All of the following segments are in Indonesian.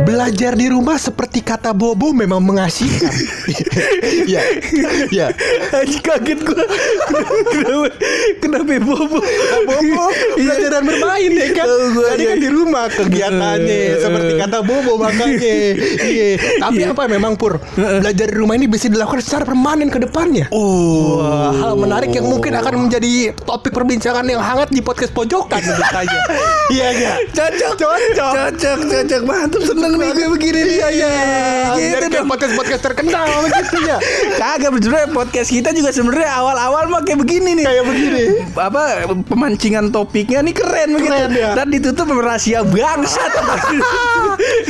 Belajar di rumah seperti kata Bobo memang mengasihkan. ya, ya. Anjing kaget gua. kenapa, kenapa ya Bobo? Bobo belajar dan bermain ya kan. Tahu gua, Jadi kan iya. Eh, di rumah kegiatannya seperti kata Bobo makanya. Iya. Tapi apa memang Pur? Eh, Belajar di rumah ini bisa dilakukan secara permanen ke depannya. Oh. Wah, hal menarik yang mungkin akan menjadi topik perbincangan yang hangat di podcast pojokan tentu saja. Iya, iya. Cocok. Cocok. Cocok, cocok. Mantap seneng nih gue begini nih. Iya, iya. Gitu Biar kayak dong. podcast-podcast terkenal gitu ya. Kagak sebenarnya podcast kita juga sebenarnya awal-awal mah kayak begini nih. Kayak begini. Apa pemancingan topiknya nih keren begitu. Keren, ya. Dan ditutup sama rahasia bangsat.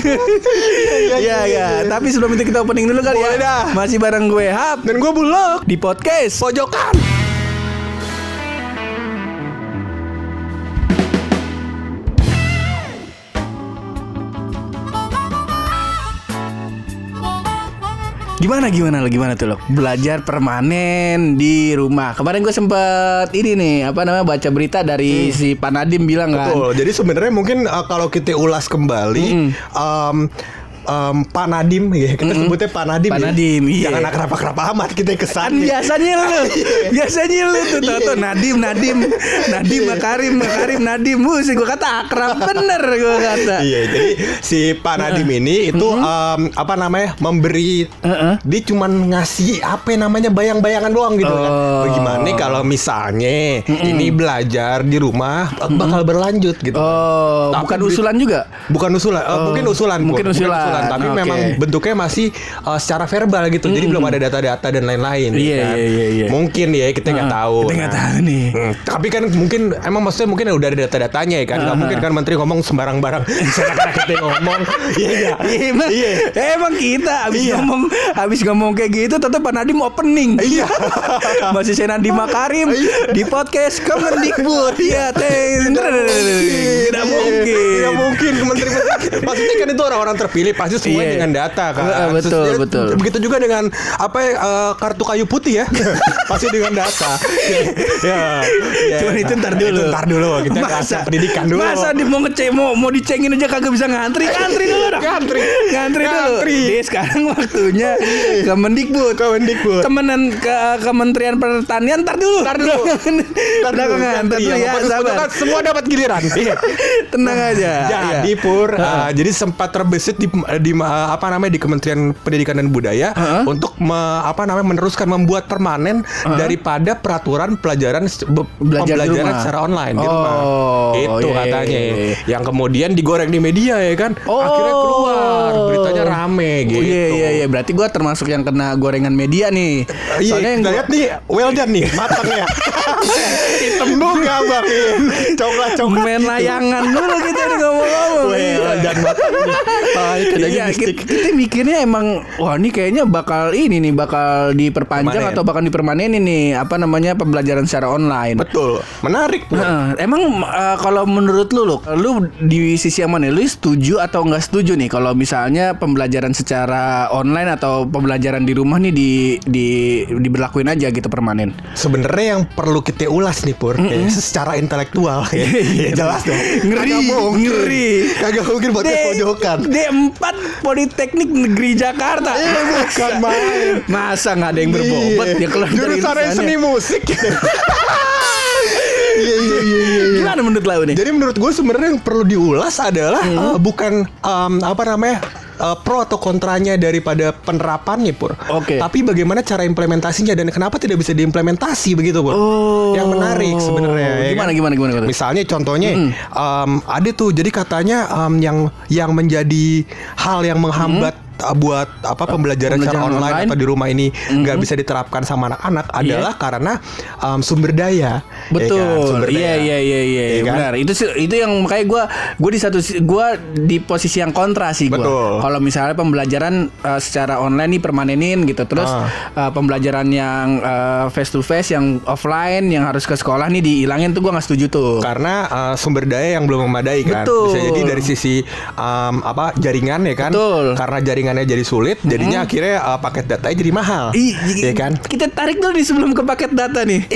Iya, Iya ya, tapi sebelum itu kita opening dulu kali Boleh ya. dah. Masih bareng gue Hap Dan gue bulog di podcast. pojokan. Gimana gimana lo gimana tuh lo? Belajar permanen di rumah. Kemarin gue sempet ini nih apa namanya baca berita dari si Panadim bilang Hmm. kan. Betul. Jadi sebenarnya mungkin eh, kalau kita ulas kembali em, em, Pak Nadim ya kita sebutnya Pak Nadim. Pak ya. Nadim, iya. Jangan akrab-akrab amat kita Kan kesannya. biasanya lu, biasanya lu tuh tau tuh Nadim, Nadim, Iya. Nadim, Makarim, Makarim, Nadim, sih gue kata akrab bener gue kata. Iya, jadi si Pak Nadim ini itu em, apa namanya memberi, Heeh. dia cuman ngasih apa namanya bayang-bayangan doang gitu kan. Oh. Bagaimana kalau misalnya ini belajar di rumah eh, bakal berlanjut gitu. Oh, Tapi bukan di- usulan juga. Bukan usulan, eh, mungkin usulan, Pur. Oh. mungkin usulan. tapi Oke. Hmm. memang bentuknya masih eh, secara verbal gitu. Jadi belum ada data-data dan lain-lain. ya Iya, kan? iya, iya, iya. Mungkin ya kita nggak tahu. Kita nggak Nah. tahu nih. Hmm, tapi kan mungkin emang maksudnya mungkin udah ada data-datanya ya kan. Nggak Ah. mungkin kan menteri ngomong sembarang-barang. Saya kita ngomong. Iya, iya. Emang, Iya. emang kita habis Iya. ngomong habis ngomong kayak gitu tetap Pak Nadiem opening. Iya. Masih saya Nadiem Makarim di podcast Kemendikbud. Iya, teng. Tidak mungkin. Tidak Iya. mungkin menteri-menteri. Maksudnya kan itu orang-orang terpilih pasti semuanya Iya. dengan data kan. Heeh, Terus betul, dia- betul. Begitu juga dengan apa ya, eh, kartu kayu putih ya. pasti dengan data. ya, ya, ya. Iya. Cuman itu ntar Nah, dulu. Itu ntar dulu kita kasih pendidikan dulu. Masa di mau ngece mau mau dicengin aja kagak bisa ngantri, ngantri dulu dong. Ngantri. ngantri dulu. Ngantri. Iya. Jadi sekarang waktunya ke Mendikbud. Kemendikbud. Kemenan ke Kementerian Pertanian ntar dulu. Ntar dulu. Ntar dulu, Iya, ntar dulu ya, sabar. kan semua dapat giliran. Iya. Tenang aja. Jadi Iya. Pur, uh, jadi sempat terbesit di, di uh, apa namanya di Kementerian Pendidikan dan Budaya Heeh. untuk me- apa namanya meneruskan membuat permanen daripada peraturan pelajaran se- be- Belajar di pembelajaran rumah. secara online di Oh, rumah. Itu iya, katanya. iya, iya. Yang kemudian digoreng di media ya kan. Oh. Akhirnya keluar beritanya rame gitu. Oh, Iya iya iya berarti gua termasuk yang kena gorengan media nih. Eh, Iya, Soalnya yang kita gua- lihat nih, well done nih, matang ya. Hitam bunga bang, Iya. coklat-coklat. gitu. main layangan dulu kita nih ngomong-ngomong. Well Iya. done matang nih. Ah, ini kerjanya Iya, mistik. kita, kita mikirnya emang wah ini kayaknya bakal ini nih bakal diperpanjang Permanen. atau bahkan dipermanenin nih apa namanya pembelajaran secara online. Betul, menarik. Pur. Heeh. emang eh, kalau menurut lu, lu, lu di sisi yang mana? Lu setuju atau nggak setuju nih kalau misalnya pembelajaran secara online atau pembelajaran di rumah nih di di diberlakuin aja gitu permanen? Sebenarnya yang perlu kita ulas nih Pur ya, Secara intelektual ya, ya jelas dong Iya, Ngeri, Kagak mungkin. ngeri. Kagak mungkin buat D- pojokan D4 Politeknik Negeri Jakarta. Eh, bukan main. Masa nggak ada yang berbobot Iya. ya keluar dari Jurusannya lulusannya. seni musik Iya iya iya iya Gimana menurut lo nih? Iya. Jadi menurut gue sebenarnya yang perlu diulas adalah eh, bukan em, apa namanya eh, pro atau kontranya daripada penerapannya pur. Oke. Tapi bagaimana cara implementasinya dan kenapa tidak bisa diimplementasi begitu pur? Oh. Yang menarik sebenarnya. ya Gimana, kan? gimana, gimana, gimana? Misalnya contohnya em, ada tuh jadi katanya em, yang yang menjadi hal yang menghambat eh, buat apa pembelajaran, secara online, Mm-hmm. pembelajaran online. Mm-hmm. Iya. atau di rumah ini nggak bisa diterapkan sama anak-anak adalah karena em, sumber daya. ya kan? Betul. Sumber daya. Iya iya iya iya. Iya kan? kan? benar. Itu sih- itu yang makanya gua gua di satu si- gua di posisi yang kontra sih gua. Betul. Kalau misalnya pembelajaran eh, secara online nih permanenin gitu. Terus Ah. eh, pembelajaran yang eh, face to face yang offline yang harus ke sekolah nih dihilangin tuh gua nggak setuju tuh. Karena uh, sumber daya yang belum memadai kan. Betul. Bisa jadi dari sisi um, apa jaringan ya kan. Betul. Hmm. Karena jaringannya jadi sulit, jadinya akhirnya uh, paket datanya jadi mahal. Ih, ya kan. Kita tarik dulu nih sebelum ke paket data nih.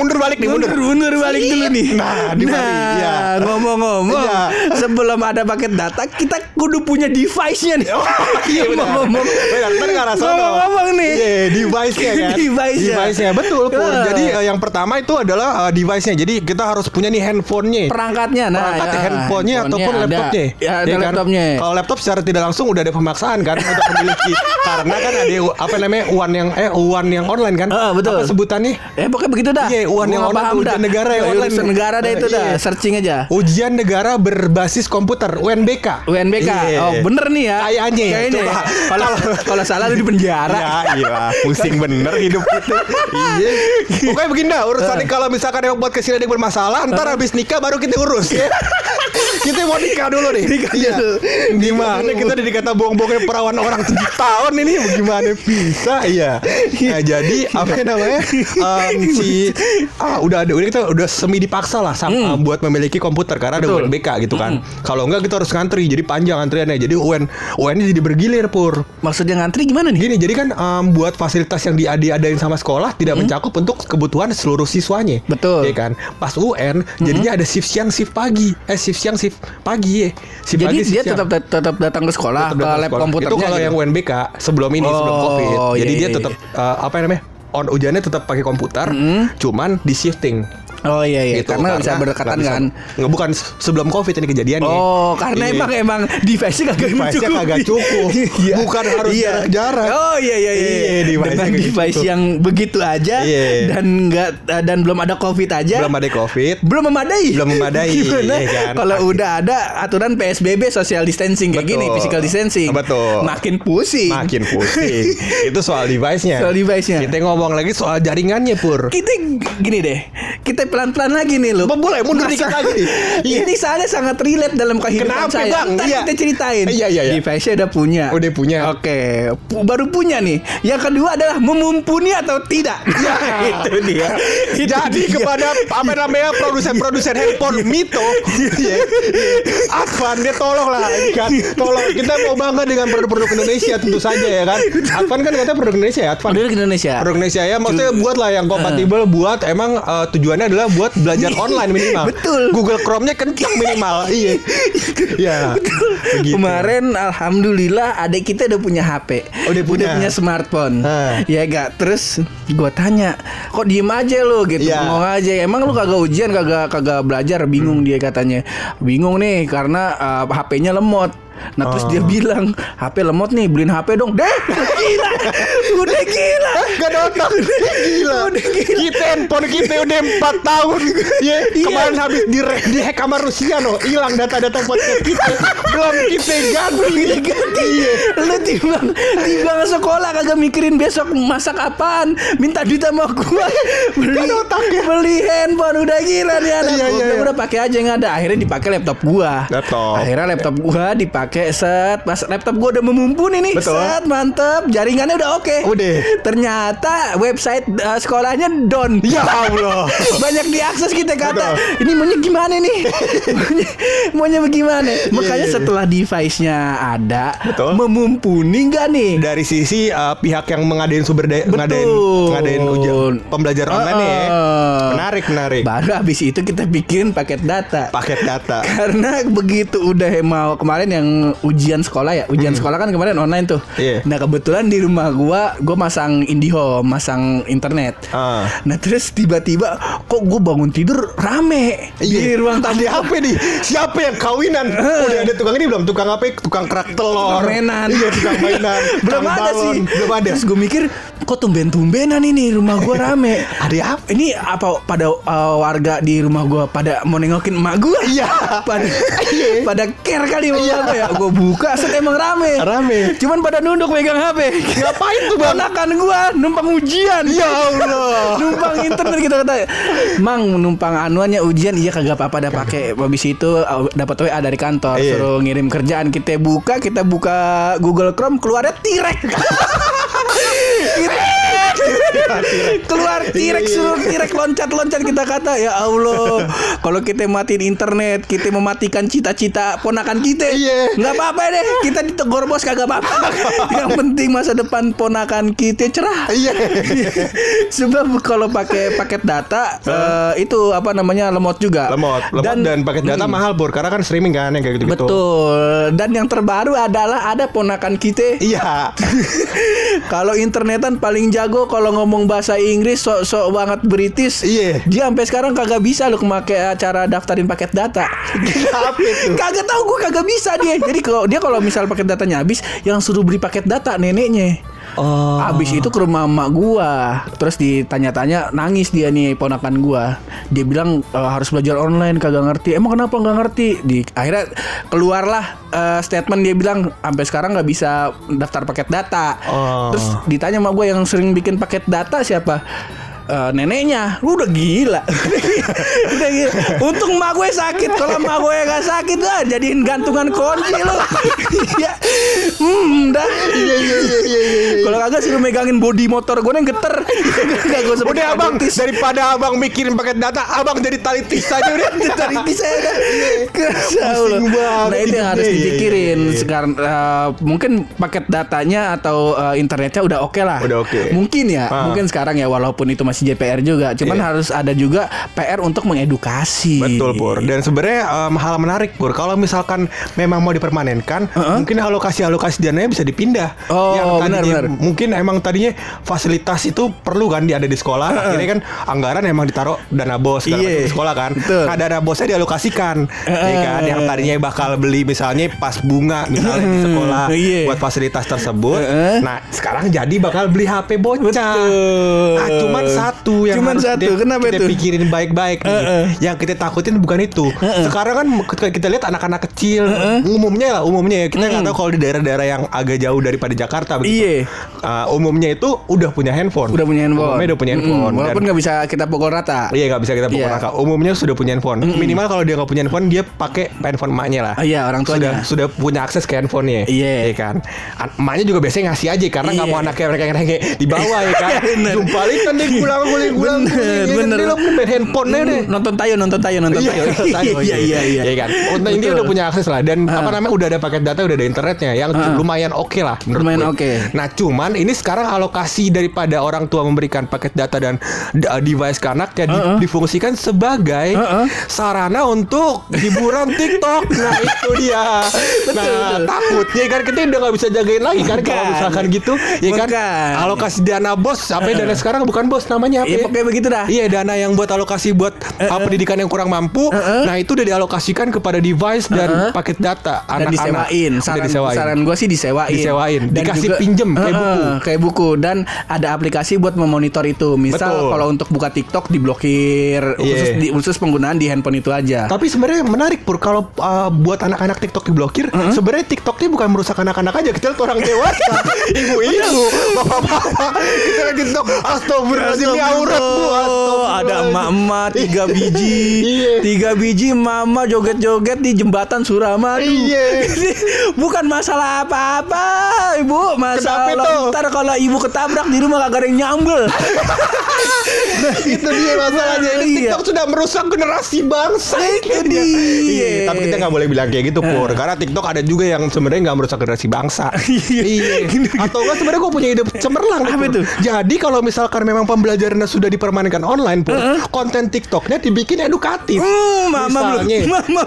mundur balik nih, mundur. mundur balik dulu nih. Iya, Nah, di mari, ya. ngomong-ngomong, Iya. sebelum ada paket data, kita kudu punya device-nya nih. Iya benar. Ngomong-ngomong. Benar, benar nggak rasa Ngomong- tau. ngomong nih. Iya, device-nya kan. Device-nya. Device-nya, betul. Pur. Ah. Jadi eh, yang pertama itu adalah eh, device-nya. Jadi kita harus punya nih handphone-nya. Perangkatnya, nah, perangkat ya, handphonenya handphonenya ataupun ada. laptopnya. Ya, ada kan? laptopnya. Kalau laptop secara tidak langsung udah ada pemaksaan kan untuk memiliki karena kan ada apa namanya uan yang eh uan yang online kan. Ah, betul. Apa sebutannya? Eh pokoknya begitu dah. Iya, uang Gua yang nggak online paham tuh, ujian dah. negara yang Eh, online. urusan negara dah itu Eh, dah, iya. searching aja. Ujian negara berbasis komputer UNBK. UNBK. Iya. Oh, bener nih ya. Kayaknya. Kayaknya. ya. Coba. Kalau kalau salah lu di penjara. Ya iya Pusing bener hidup kita Iya Pokoknya begini dah Eh. Urusannya kalau misalkan Emang buat kesini ada yang bermasalah Ntar habis nikah baru kita urus ya Kita mau nikah dulu nih Nikah Iya. dulu. Gimana kita udah dikata bohong-bohongnya Perawan orang 7 tahun ini Gimana bisa Iya Nah jadi Apa namanya em, Si ah, Udah ada udah kita udah semi dipaksa lah sam- em, Buat memiliki komputer Karena ada Hmm. Betul. Hmm. UNBK gitu kan Kalau enggak kita harus ngantri Jadi panjang antriannya Jadi UN UN ini jadi bergilir Pur Maksudnya ngantri gimana nih? Gini, jadi kan em, buat fasilitas yang diadain sama sekolah tidak mencakup untuk kebutuhan seluruh siswanya. Hmm. Betul. Hmm. Iya kan? Pas UN, jadinya ada shift siang, shift pagi. Eh, shift siang, shift pagi ya. Shift Jadi pagi, shift dia siang. tetap tetap datang ke Tetap sekolah, ke gitu. datang lab sekolah. komputer. Itu kalau yang UNBK sebelum ini, sebelum Oh, Covid. iya, Jadi dia iya, tetap eh, apa namanya? On ujiannya tetap pakai komputer, cuman di shifting. Oh iya iya, gitu. karena, bisa berdekatan nggak kan. bisa- nggak, bukan se- sebelum Covid ini kejadiannya. Oh, karena Iya. emang emang device-nya kagak Device-nya mencukupi. kagak cukup. Iya. Bukan harus Iya. jarak-jarak. Oh iya iya iya. Iya, device-nya Dengan kagak device cukup. yang begitu aja Iya. dan enggak dan belum ada Covid aja. Belum ada Covid, ya. belum memadai Belum memadai, Gimana? iya kan? kalau Makin- udah ada aturan PSBB social distancing kayak Betul. gini physical distancing Betul. makin pusing makin pusing. itu soal device-nya. Soal device-nya. Kita ngomong lagi soal jaringannya, Pur. kita gini deh kita pelan-pelan lagi nih lu Apa boleh mundur dikit lagi nih? Iya. ini soalnya sangat relate dalam kehidupan Kenapa, saya Bang? Ntar Iya. kita ceritain Iya, iya, iya. device udah punya Udah punya. oke Pu- baru punya nih yang kedua adalah memumpuni atau tidak ya itu dia Itu Iya. Jadi dia. kepada apa namanya produsen-produsen Iya. handphone Mito, ya, Advan dia tolong lah, ya kan? Tolong kita mau bangga dengan produk-produk Indonesia tentu saja ya kan. Advan kan katanya produk Indonesia ya, Advan. Model ke Indonesia Produk Indonesia ya maksudnya buat lah yang kompatibel Ah. buat emang eh, tujuannya adalah buat belajar online minimal. Iya. Betul. Google Chrome-nya kencang minimal. iya. Iya. Begitu. Kemarin alhamdulillah adik kita udah punya HP. Oh, dia punya. smartphone. Ah. Ya gak terus gua tanya, "Kok diem aja lu?" gitu. Iya. Ngomong aja. Emang lu kagak ujian, kagak kagak belajar, bingung Hmm. dia katanya. Bingung nih karena uh, HP-nya lemot. Nah terus Oh. dia bilang HP lemot nih beliin HP dong Deh gila Udah gila Gak Eh, ada otak Gila Udah gila. Kita handphone kita udah 4 tahun ya, Iya. Kemarin habis di, di hack sama Rusia no Hilang data-data podcast kita Belum kita ganti Udah ganti Iya Lu timbang Timbang sekolah kagak mikirin besok masak apaan Minta duit sama gua Beli Kan otaknya. Beli handphone Udah gila nih Iya, anak Gua iya, bilang, iya. Udah pakai aja yang ada Akhirnya dipakai laptop gua Laptop. Akhirnya laptop gua dipakai set Pas laptop gua udah memumpuni nih Betul. Set mantep Jaringannya udah oke Udah. Ternyata website eh, sekolahnya down Ya Allah banyak diakses kita kata Betul. ini maunya gimana nih maunya, maunya bagaimana makanya iya, iya. setelah device-nya ada Betul. memumpuni nggak nih dari sisi uh, pihak yang mengadain sumber daya ngadain ngadain ujian pembelajaran Ah, online nih ya. Heeh. Menarik, menarik. baru habis itu kita bikin paket data Paket data. karena begitu udah mau kemarin yang ujian sekolah ya ujian sekolah kan kemarin online tuh Hmm. Iya. nah kebetulan di rumah gua gua masang IndiHome masang internet Ah. nah terus tiba-tiba kok gua bangun tidur rame di Iya. ruang tamu Ah. Ada apa nih? Siapa yang kawinan? Udah ada tukang ini belum? Tukang apa? Tukang kerak telur. Permainan. Iya, tukang mainan. belum Tukang ada sih. balon. Belum ada. Terus gue mikir, kok tumben-tumbenan ini rumah gue rame. Ada apa? ini apa pada uh, warga di rumah gue pada mau nengokin emak gue? Iya. pada pada care kali sama Iya. gua ya? gue buka set emang rame Rame. cuman pada nunduk megang HP Ngapain tuh, Bang? ponakan gue numpang ujian Ya Allah. numpang internet kita kata mang numpang anuannya ujian iya kagak apa-apa dah pakai habis itu uh, dapat WA dari kantor Iya. suruh ngirim kerjaan kita buka kita buka Google Chrome keluarnya T-Rex T-Rex. keluar Iya, T-Rex suruh T-Rex loncat-loncat kita kata ya Allah kalau kita matiin internet kita mematikan cita-cita ponakan kita Iya. nggak apa-apa deh kita ditegur bos kagak apa-apa yang penting masa depan ponakan kita cerah Iya. Sebab kalau pakai paket data eh, itu apa namanya lemot juga. Lemot, lemot dan, paket data mahal bor karena kan streaming kan yang kayak gitu-gitu. Betul. Dan yang terbaru adalah ada ponakan kita. Iya. kalau internetan paling jago kalau ngomong bahasa Inggris sok-sok banget British. Iya. Dia sampai sekarang kagak bisa lu make acara daftarin paket data. Apa itu? kagak tahu gue kagak bisa dia. Jadi kalau dia kalau misal paket datanya habis, yang suruh beli paket data neneknya. Oh. Abis itu ke rumah emak gua Terus ditanya-tanya Nangis dia nih ponakan gua Dia bilang e, harus belajar online Kagak ngerti Emang kenapa nggak ngerti di Akhirnya keluarlah e, statement dia bilang Sampai sekarang nggak bisa daftar paket data Oh. Terus ditanya sama gua yang sering bikin paket data siapa E, neneknya lu udah gila. udah gila. Untung mak gue sakit. Kalau mak gue gak sakit lah jadiin gantungan kunci lu. Iya. hmm, dah. Iya iya iya iya. iya. Kalau kagak sih lu megangin bodi motor gue yang geter. Kagak gue sebut Udah abang daripada abang mikirin paket data, abang jadi talitis aja udah. dari bisa Iya, ya. Kerasa Pusing lu. banget Nah itu yang hidupnya. harus Iya, iya, dipikirin iya, iya. sekarang eh, mungkin paket datanya atau eh, internetnya udah oke lah. Udah oke. Mungkin ya, Ah. mungkin sekarang ya walaupun itu masih JPR juga, cuman Iya. harus ada juga PR untuk mengedukasi. Iya. Betul Pur Dan sebenarnya em, hal menarik Pur Kalau misalkan memang mau dipermanenkan Heeh. Mungkin alokasi-alokasi dananya bisa dipindah Oh, tadinya- benar, benar. Mungkin emang tadinya fasilitas itu perlu kan di ada di sekolah Akhirnya kan anggaran emang ditaruh dana bos segala Iya. macam di sekolah kan Betul. Nah dana bosnya dialokasikan ya kan? Yang tadinya bakal beli misalnya pas bunga Misalnya di sekolah Iya. Buat fasilitas tersebut Heeh. Nah sekarang jadi bakal beli HP bocah Betul. Ah, Cuman satu yang Cuman harus satu, di- kenapa kita itu? pikirin baik-baik nih. Yang kita takutin bukan itu. Sekarang kan ketika kita lihat anak-anak kecil, umumnya lah umumnya ya kita nggak tahu kalau di daerah-daerah yang agak jauh daripada Jakarta Iya. begitu. Ah, umumnya itu udah punya handphone. Udah punya handphone. Umumnya udah punya Mm-mm, handphone. Walaupun Dan- nggak bisa kita pukul rata. Iya nggak bisa kita pukul Iya. rata. Umumnya sudah punya handphone. Minimal kalau dia nggak punya handphone dia pakai handphone emaknya lah. Ah, iya, orang tuanya. Sudah sudah punya akses ke handphonenya. Iya. kan. An- emaknya juga biasanya ngasih aja karena nggak Iya. mau anaknya mereka yang rengek di bawah ya kan. Bener. Jumpa lagi kan dia pulang pulang pulang. Bener, bener. Dia lo main handphone deh deh. Nonton tayo, nonton tayo, nonton Iya, tayo. iya, iya, iya, kan. Untuk ini Oh, Betul. Ah. udah punya akses lah dan apa namanya udah ada paket data, udah ada internetnya yang lumayan oke lah. menurut Lumayan gue. oke. Nah, cuman ini sekarang alokasi daripada orang tua memberikan paket data dan d- uh, device ke anaknya Ah, di- difungsikan sebagai Uh-uh. sarana untuk hiburan TikTok. Nah, itu dia. nah, takutnya kan kita udah nggak bisa jagain lagi kan kalau Bukan. misalkan gitu, ya kan? Bukan. Ah. Alokasi dana bos, apa ya, dana sekarang bukan bos namanya apa? Iya, ya? pokoknya begitu dah. Iya dana yang buat alokasi buat Eh, uh, pendidikan yang kurang mampu, nah itu udah dialokasikan kepada device dan Uh-uh. paket data anak-anak. dan disewain Udah saran, disewain. saran gue sih disewain Disewain. Dikasih juga- pinjem kayak Heeh, buku. kayak buku dan ada aplikasi buat memonitor itu misal Betul. kalau untuk buka TikTok diblokir khusus Iya. di, khusus penggunaan di handphone itu aja Tapi sebenarnya menarik pur kalau uh, buat anak-anak TikTok diblokir, Eh, sebenarnya TikToknya bukan merusak anak-anak aja, kita lihat orang dewasa, Iya. ibu-ibu, bapak-bapak, kita lihat TikTok, astagfirullahaladzim, ini aurat bu, astagfirullahaladzim. ada emak-emak tiga biji Iya. tiga biji mama joget-joget di jembatan Suramadu Iya. bukan masalah apa-apa ibu masalah Kenapa itu? ntar kalau ibu ketabrak di rumah kagak ada yang nyambel itu dia masalahnya ini Iya. Nah, TikTok sudah merusak generasi bangsa Itu Ini dia. dia. Nah. Iya, tapi kita nggak boleh bilang kayak gitu pur karena TikTok ada juga yang sebenarnya nggak merusak generasi bangsa iya atau nggak sebenarnya gue punya ide cemerlang nih, Gitu, Apa Pur. itu? jadi kalau misalkan memang pembelajarannya sudah dipermanenkan online pur konten TikToknya dibikin edukatif Hmm, mama lu, Misalnya. mama,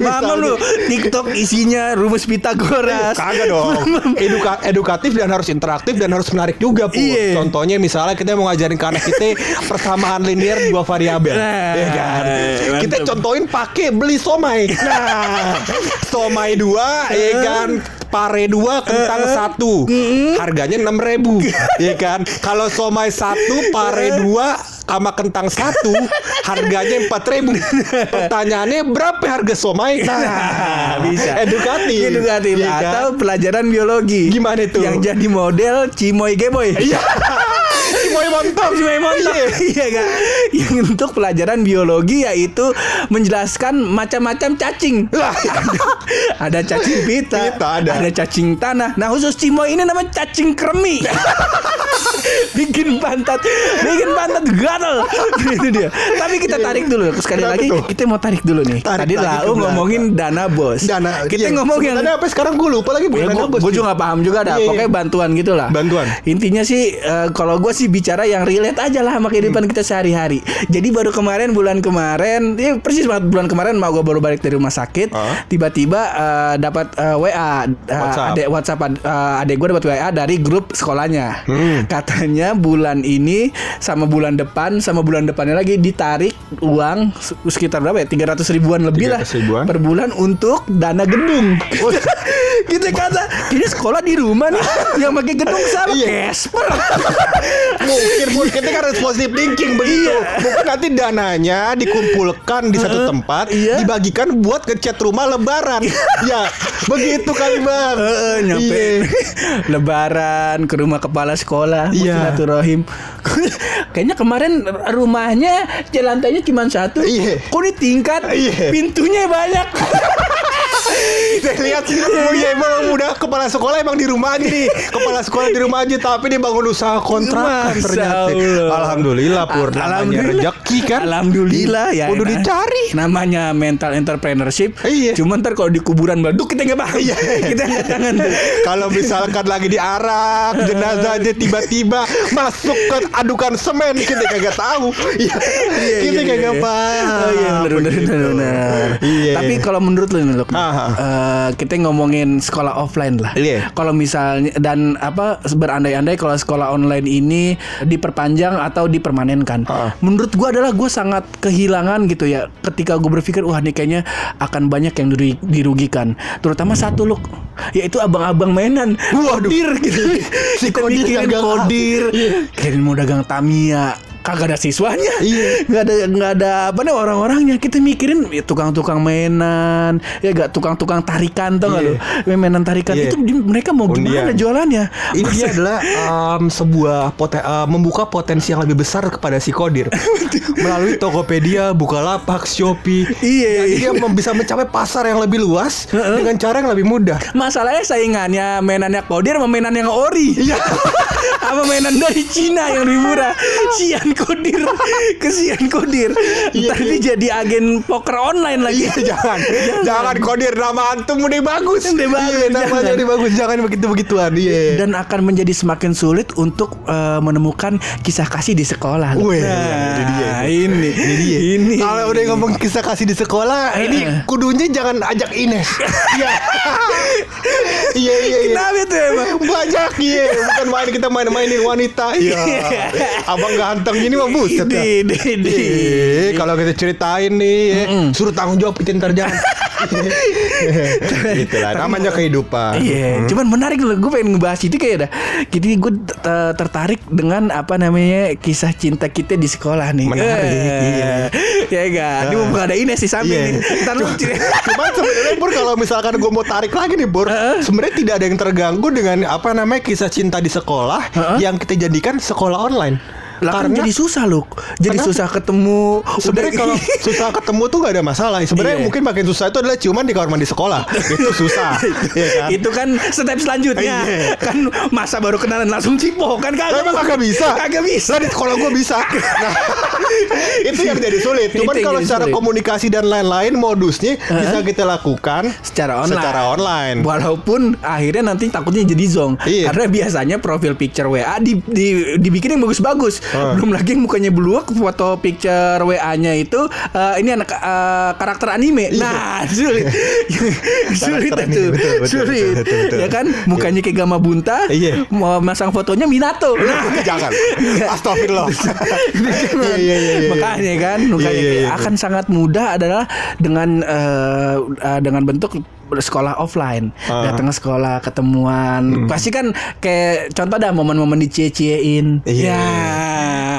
mama lu, TikTok isinya rumus Pitagoras. Kagak dong. Eduka- edukatif dan harus interaktif dan harus menarik juga, Pur. Iya. Contohnya misalnya kita mau ngajarin ke anak kita persamaan linear dua variabel. Nah, ya kan? mantep. Kita contohin pakai beli somai. Nah, somai dua, ya Nah. kan? Pare dua, kentang iya Nah. satu. Harganya 6.000, ya kan? Kalau somai satu, pare dua sama kentang satu harganya empat ribu. Nah. Pertanyaannya berapa harga somai? Nah, Ah, bisa. Edukatif. Edukatif Iya kan? atau pelajaran biologi. Gimana tuh? Yang jadi model Cimoy Geboy. Iya. Cimoy mantap. Cimoy mantap. Iya. Iya kan? Yang untuk pelajaran biologi yaitu menjelaskan macam-macam cacing. ada, ada cacing pita, iya. Pita ada. cacing tanah. Nah, khusus Cimoy ini namanya cacing kremi. bikin pantat, bikin pantat gatal. Itu dia. Tapi kita tarik dulu sekali Kenapa lagi. tuh? Kita mau tarik dulu nih. Tarik Tadi lagi Lau ke ngomongin dana bos. Dana. Kita iya. ngomong yang Dana apa sekarang gue lupa lagi Ya, Iya, bukan dana bos. gue juga gak paham juga dah Iya, iya. Pokoknya bantuan gitu lah Bantuan. Intinya sih eh, Kalau gue sih bicara yang relate aja lah Sama Hmm. kehidupan kita sehari-hari Jadi baru kemarin Bulan kemarin ya Persis banget bulan kemarin Mau gue baru balik dari rumah sakit Ah. Tiba-tiba eh, dapat eh, WA eh, WhatsApp. Adek WhatsApp ad- eh, Adek gue dapat WA dari grup sekolahnya Hmm. Katanya bulan ini Sama bulan depan Sama bulan depannya lagi Ditarik uang se- Sekitar berapa ya 300 ribuan lebih lah 300 ribuan. Per bulan untuk dana gedung Oh. kita kata ini sekolah di rumah nih yang pakai gedung sama Iya. Casper mungkin mungkin kita harus positive kan thinking begitu. Iya. Mungkin nanti dananya dikumpulkan di satu tempat, iya. dibagikan buat ke chat rumah lebaran. ya, begitu kali, Bang. Heeh, nyampe Iya. lebaran ke rumah kepala sekolah Iya. silaturahim kayaknya kemarin rumahnya lantainya cuma satu Iya. kok ini tingkat Iya. pintunya banyak Kita lihat oh iya emang udah kepala sekolah emang di rumah aja nih kepala sekolah di rumah aja tapi dia bangun usaha kontrakan Masya ternyata Allah. alhamdulillah pur namanya rezeki kan Alhamdulillah ya. udah enak. dicari Namanya mental entrepreneurship. Iya. Cuman ntar kalau di kuburan meleduk kita nggak paham. Iya. kita nggak tangan. kalau misalkan lagi diarak jenazah aja tiba-tiba masuk ke adukan semen kita kagak tahu Iya, kita kagak paham Oh iya benar benar begitu. benar, benar. iya Tapi kalau menurut lu nih Luk, Aha. eh, kita ngomongin sekolah offline lah. Iya. Kalau misalnya dan apa berandai-andai kalau sekolah online ini diperpanjang atau dipermanenkan. Ah. Menurut gua adalah gua sangat kehilangan gitu ya ketika gua berpikir wah ini kayaknya akan banyak yang diru- dirugikan. Terutama satu Luk yaitu abang-abang mainan. Waduh. Kodir gitu. Si kita kodir mikirin dagang apa? kodir, kirain mau dagang Tamiya kagak ada siswanya Iya. nggak ada nggak ada apa nih orang-orangnya kita mikirin ya, tukang-tukang mainan ya gak tukang-tukang tarikan tau nggak Iya. lu mainan tarikan Iya. itu di- mereka mau gimana Undian. jualannya Ini Masa- dia adalah em, sebuah poten- eh, membuka potensi yang lebih besar kepada si kodir melalui Tokopedia, Bukalapak, Shopee. Iya, Jadi dia iya. mem- bisa mencapai pasar yang lebih luas dengan cara yang lebih mudah. masalahnya saingannya mainannya kodir sama mainan yang ori Iya. sama mainan dari Cina yang lebih murah sian kodir kesian kodir Iya, ntar dia jadi agen poker online lagi jangan, jangan kodir nama antum udah bagus. Udah bagus, Iya, namanya jangan. udah bagus, jangan begitu begituan. Iya. dan akan menjadi semakin sulit untuk eh, menemukan kisah kasih di sekolah. Weh, iya, nah, ini dia. ini, ini, Iya. ini. Kalau udah ngomong kisah kasih di sekolah, ini kudunya jangan ajak Ines. Iya. Iya iya. iya. Kenapa itu emang? banyak iya bukan main kita main-mainin wanita iya abang ganteng gini mah buset Di, ya di, di. Ih, kalau kita ceritain nih ya, suruh tanggung jawab itu ntar jangan Itulah namanya kehidupan Iya, cuman menarik loh. Gue pengen ngebahas itu kayak dah. Jadi gue tertarik dengan apa namanya kisah cinta kita di sekolah nih. Menarik, Ah. Eh, Ya enggak. Ini mumpung ada Ines di Iya. samping nih. Ntar lu cerita. Cuman sebenarnya Bur kalau misalkan gue mau tarik lagi nih Bur Sebenarnya tidak ada yang terganggu dengan apa namanya kisah cinta di sekolah Heeh. Yang kita jadikan sekolah online Lah kan jadi susah loh. Jadi Kenapa? susah ketemu. Sebenarnya Udah- kalau susah ketemu tuh gak ada masalah. Sebenarnya Iya. mungkin makin susah itu adalah ciuman di kamar mandi sekolah. itu susah. Iya kan? Itu kan step selanjutnya. Iya. Kan masa baru kenalan langsung cipo kan Lah, kagak. emang kagak bisa. Kagak bisa. Lah, di sekolah gue bisa. Nah, itu yang jadi sulit. Itu Cuman yang kalau jadi secara sulit. komunikasi dan lain-lain modusnya bisa kita lakukan Secara online. Secara online. Walaupun akhirnya nanti takutnya jadi zong. Iya. Karena biasanya profil picture WA di, di- dibikin yang bagus-bagus. Heeh. Belum lagi mukanya beluak foto picture WA-nya itu eh, ini anak eh, karakter anime. Nah, sulit. Iya. sulit Karakter itu. anime, betul, betul, betul, sulit. betul, betul. Ya kan mukanya kayak Gama Bunta, Iya. mau masang fotonya Minato. Nah, Jangan. Astagfirullah. Iya, iya, iya, iya. makanya kan Iya, makanya iya, iya. akan sangat mudah adalah dengan eh, eh, dengan bentuk sekolah offline, Ah. Hmm. datang ke sekolah ketemuan. Pasti kan kayak contoh dah momen-momen dicie-ciein. Iya. Ya.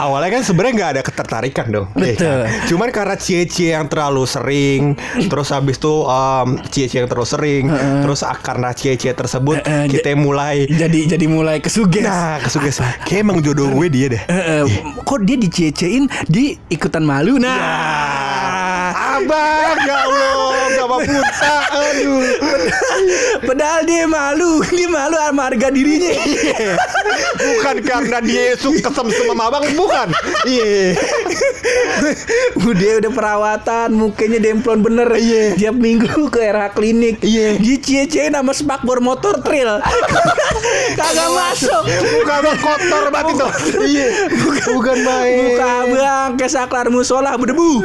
Awalnya kan sebenarnya nggak ada ketertarikan dong. Iya Betul. kan? Cuman karena cie-cie yang terlalu sering, terus habis itu um, cie-cie yang terlalu sering, terus ah, karena cie-cie tersebut Eh, eh, kita mulai Jadi jadi mulai kesuges. iya. nah kesuges. Kayak emang jodoh gue dia deh. Eh, eh, kok dia dicie-ciein, dia ikutan malu. Nah. Iya. Abang, ya Allah, gak mau pulsa, aduh. Padahal dia malu, dia malu sama harga dirinya. Iya. Bukan karena dia suka kesem sama abang, bukan. Iya. dia udah perawatan, mukanya demplon bener. Iya. Tiap minggu ke RH klinik. Iya. Dia cie-ciein sama spakbor motor trail. Kagak masuk. Bukan abang kotor banget itu. Iya. Bukan main. Muka abang ke saklar musola berdebu.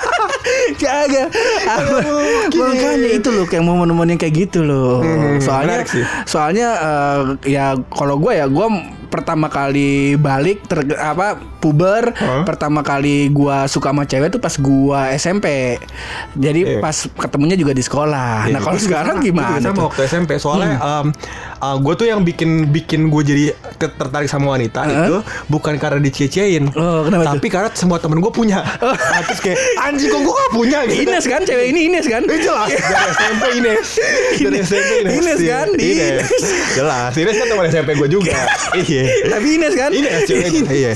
Kagak. Abang- mungkin. Makanya itu loh kayak momen-momen yang kayak gitu loh. Hmm, soalnya menarik sih. soalnya eh, ya kalau gue ya gue pertama kali balik ter apa puber Huh? pertama kali gua suka sama cewek tuh pas gua SMP jadi Iya. pas ketemunya juga di sekolah nah Iya. kalau sekarang Gue juga gimana sama tuh? Hmm. waktu SMP soalnya gue tuh yang bikin bikin gue jadi ke- tertarik sama wanita itu bukan karena dicie-ciein Oh, kenapa Oh. tapi karena semua temen gue punya Nah, terus kayak anjing kok gue gak punya gitu Ines kan cewek ini Ines kan Eh, jelas dari SMP Ines dari Ines. SMP Ines Ines Iya, kan, di Ines. Ines. jelas Ines kan teman SMP gue juga iya tapi Ines kan Ini hasilnya iya.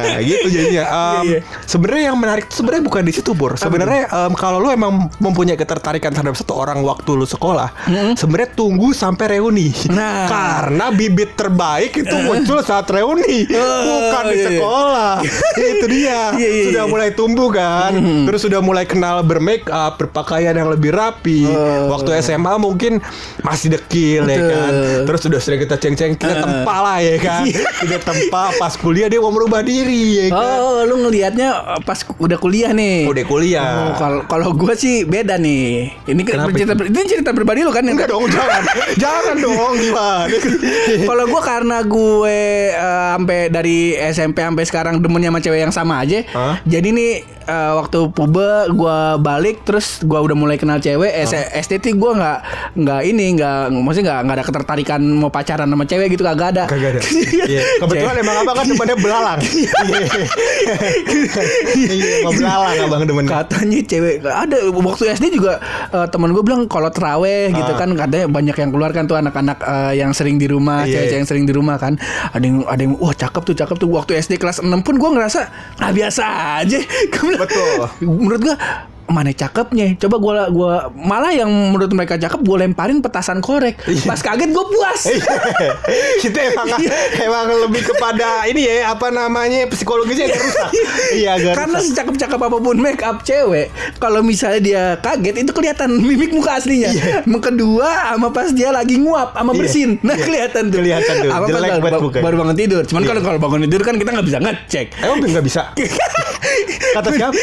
Nah, gitu jadinya. Em, Iya, iya. sebenarnya yang menarik tuh sebenarnya bukan di situ, Bor. Sebenarnya em, kalau lu emang mempunyai ketertarikan terhadap satu orang waktu lu sekolah, sebenarnya tunggu sampai reuni. Nah. Eh. Karena bibit terbaik itu muncul saat reuni, bukan di iya, iya. sekolah. itu dia. Sudah Iya, iya, iya. Mm-hmm. mulai tumbuh kan. Terus sudah mulai kenal bermake up, berpakaian yang lebih rapi. Eh. Waktu SMA mungkin masih dekil ya Betul. kan. Terus sudah sering kita ceng-ceng, kita tempa lah ya kan Iya. Kita tempa pas kuliah dia mau merubah diri ya kan Oh, lu ngelihatnya eh, pas ku- udah kuliah nih. Udah kuliah Oh, kalau kalau gue sih beda nih. Ini Iya. kan Kenapa cerita ini cerita pribadi lo kan yang Enggak dong jangan Jangan dong gimana Kalau gue karena gue eh, sampai dari SMP sampai sekarang demennya sama cewek yang sama aja. Hah? Jadi nih eh, waktu pube gue balik terus gue udah mulai kenal cewek. S STT gue nggak nggak ini nggak maksudnya nggak nggak ada ketertarikan mau pacaran sama cewek gitu kagak ada. Kagak ada Iya. Kebetulan emang abang kan demennya belalang Iya. Iya mau belalang abang demennya Katanya cewek ada waktu SD juga eh, teman gue bilang kalau teraweh gitu Ah. kan katanya banyak yang keluar kan tuh anak-anak eh, yang sering di rumah, Iya, cewek-cewek iya. yang sering di rumah kan. Ada yang ada yang wah cakep tuh, cakep tuh. Waktu SD kelas 6 pun gue ngerasa ah biasa aja. Gua bilang, Betul. Menurut gue mana cakepnya coba gue gua malah yang menurut mereka cakep gue lemparin petasan korek Iya. pas kaget gue puas Iya. Kita emang Iya. emang lebih kepada ini ya apa namanya psikologisnya yang rusak. Iya agak Karena rusak. secakep-cakep apapun make up cewek, kalau misalnya dia kaget itu kelihatan mimik muka aslinya. Yang Kedua, sama pas dia lagi nguap Iya. sama bersin, nah Iya. kelihatan tuh. Kelihatan tuh. Apa Jelek pas banget ba- mukanya. Iya. baru bangun tidur. Cuman kalau kalau bangun tidur kan kita nggak bisa ngecek. Emang nggak bisa. Kata siapa?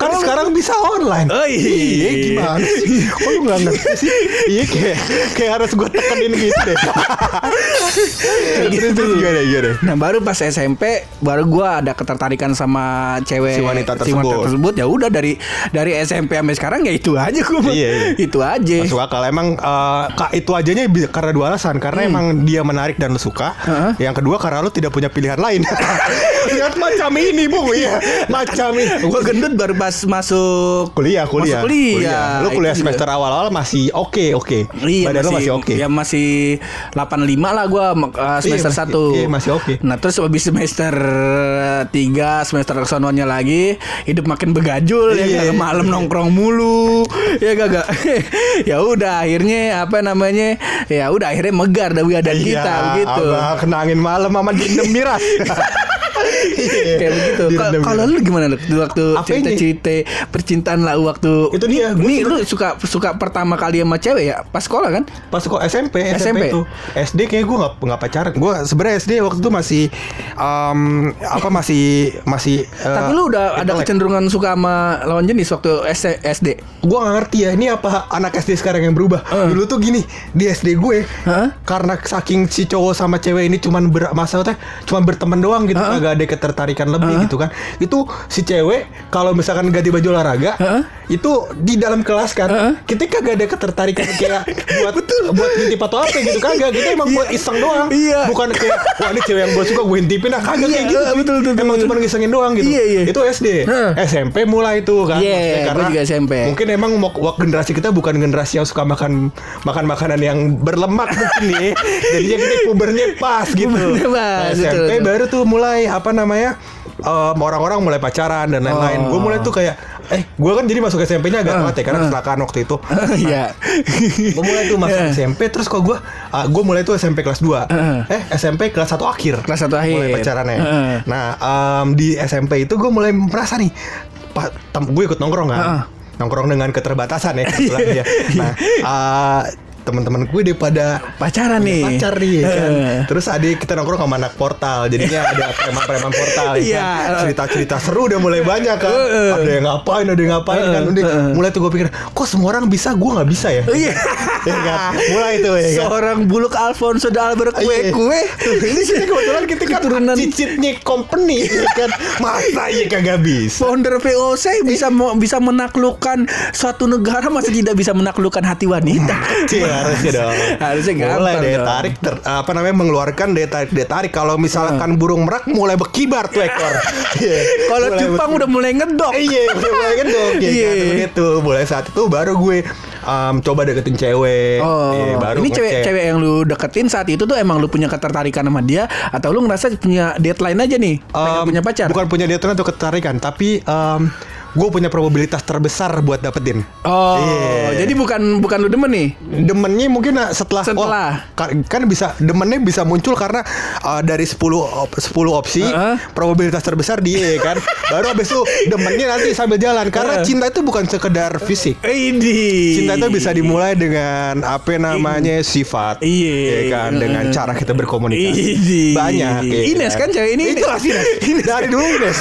Kan sekarang bisa online. Oh, iya. Iya, gimana sih? Kok lu gak ngerti sih? Iya kayak kayak harus gue tekenin gitu deh. Terus terus gimana gimana? Nah baru pas SMP baru gua ada ketertarikan sama cewek Si wanita tersebut. ya udah dari dari SMP sampai sekarang ya itu aja gua. mah. Iya, iya. Itu aja. Masuk akal emang eh, kak itu ajanya bi- karena dua alasan karena emang dia menarik dan lu suka. Heeh. Yang kedua karena lu tidak punya pilihan lain. Lihat macam ini bung ya macam ini. Gua gendut baru pas masuk Kuliah, kuliah, Masuk kuliah. Lu Itu kuliah juga. semester awal-awal masih oke, oke. Iya, Badan lu masih oke. Ya masih 85 lah gua mak- uh, semester masih- 1. iya, masih oke. Nah, terus habis semester 3, semester kesononya lagi, hidup makin begajul Iya. ya kan? malam nongkrong mulu. ya kagak. ya udah akhirnya apa namanya? Ya udah akhirnya megar dah badan Iya, kita begitu. abang kenangin malam sama dendam miras. Iya, Kayak begitu. Ka- dendam Kalau miras. lu gimana lu waktu Apanya? cerita-cerita percintaan lah waktu Itu dia, gua Nih, lu suka suka pertama kali sama cewek ya pas sekolah kan? pas kok SMP, SMP? SMP, itu SD kayak gue nggak nggak pacaran. Gue sebenarnya SD waktu itu masih em, apa masih masih. eh, Tapi lu udah ada kecenderungan suka sama lawan jenis waktu S- SD. Gue gak ngerti ya ini apa anak SD sekarang yang berubah. Eh. Dulu tuh gini di SD gue Heeh. karena saking si cowok sama cewek ini cuman ber masalahnya cuman berteman doang gitu Heeh. kagak ada ada ketertarikan lebih gitu kan itu si cewek kalau misalkan ganti baju olahraga Heeh. itu di dalam kelas kan Heeh. kita kagak ada ketertarikan kayak buat buat ngintip atau apa gitu kagak kita emang buat iseng doang Iya. bukan kayak wah ini cewek yang gue suka gue intipin ah kagak Iya, kayak gitu betul, betul, betul, emang betul. cuma ngisengin doang gitu Iya, iya. itu SD Heeh. SMP mulai tuh kan Iya, Maksudnya gua juga SMP. mungkin emang mok- wak generasi kita bukan generasi yang suka makan makan makanan yang berlemak mungkin nih jadinya kita pubernya pas gitu Pubernya Nah, pas, SMP betul, betul. baru tuh mulai apa namanya em, orang-orang mulai pacaran dan lain-lain gue Oh. Ah. mulai tuh kayak eh gue kan jadi masuk SMP-nya agak telat ya karena kecelakaan waktu itu Iya. gue mulai tuh masuk Iya. SMP terus kok gue gue mulai tuh SMP kelas 2 Heeh. eh SMP kelas 1 akhir Kelas satu akhir. mulai pacarannya Heeh. nah em, di SMP itu gue mulai merasa nih pa, gue ikut nongkrong kan Heeh. Iya. nongkrong dengan keterbatasan ya kebetulan ya nah eh, teman-teman gue daripada Pacaran punya nih. Eh. pacar nih ya kan. Iya. Heeh. Terus ada kita nongkrong sama anak portal, jadinya ada preman-preman portal ya Iya. kan. Cerita-cerita seru udah mulai banyak kan. Ada yang ngapain, ada yang ngapain kan. Udah mulai tuh gue pikir, kok semua orang bisa, gue nggak bisa ya. Iya. Ya kan? Mulai itu ya kan. Seorang buluk Alfonso D'Albert Iya. kue kue. Tuh, ini sih kebetulan kita kan Keturunan. cicitnya company ya kan. Masa ya kagak bisa. Founder VOC bisa mo- bisa menaklukkan suatu negara masih tidak bisa menaklukkan hati wanita. Cil, Iya, harusnya dong. Harusnya Mulai gampang daya dong. tarik ter- apa namanya mengeluarkan daya tarik daya tarik kalau misalkan burung merak mulai berkibar tuh ekor. Iya. Hmm. Kalau Mulai Jepang udah mulai ngedok. Iya, udah mulai gendong ya Iya. kan begitu. Mulai saat itu baru gue em, coba deketin cewek. Iya, Oh, ini ngecek. cewek-cewek yang lu deketin saat itu tuh emang lu punya ketertarikan sama dia atau lu ngerasa punya deadline aja nih, pengen Em, punya pacar? Um, Bukan punya dia atau ketarikan, tapi em, gue punya probabilitas terbesar buat dapetin. Oh, Iya. jadi bukan bukan lu demen nih? Demennya mungkin nah, setelah Setelah. oh, ka- kan bisa demennya bisa muncul karena eh, dari 10 op- 10 opsi Heeh. probabilitas terbesar dia kan. Baru abis itu demennya nanti sambil jalan karena cinta itu bukan sekedar fisik. Ini. Cinta itu bisa dimulai dengan apa namanya sifat, Iya. ya kan, dengan cara kita berkomunikasi. Ini. Banyak. ya Ines kan cewek ini. Itulah sih Ines. Dari dulu Ines.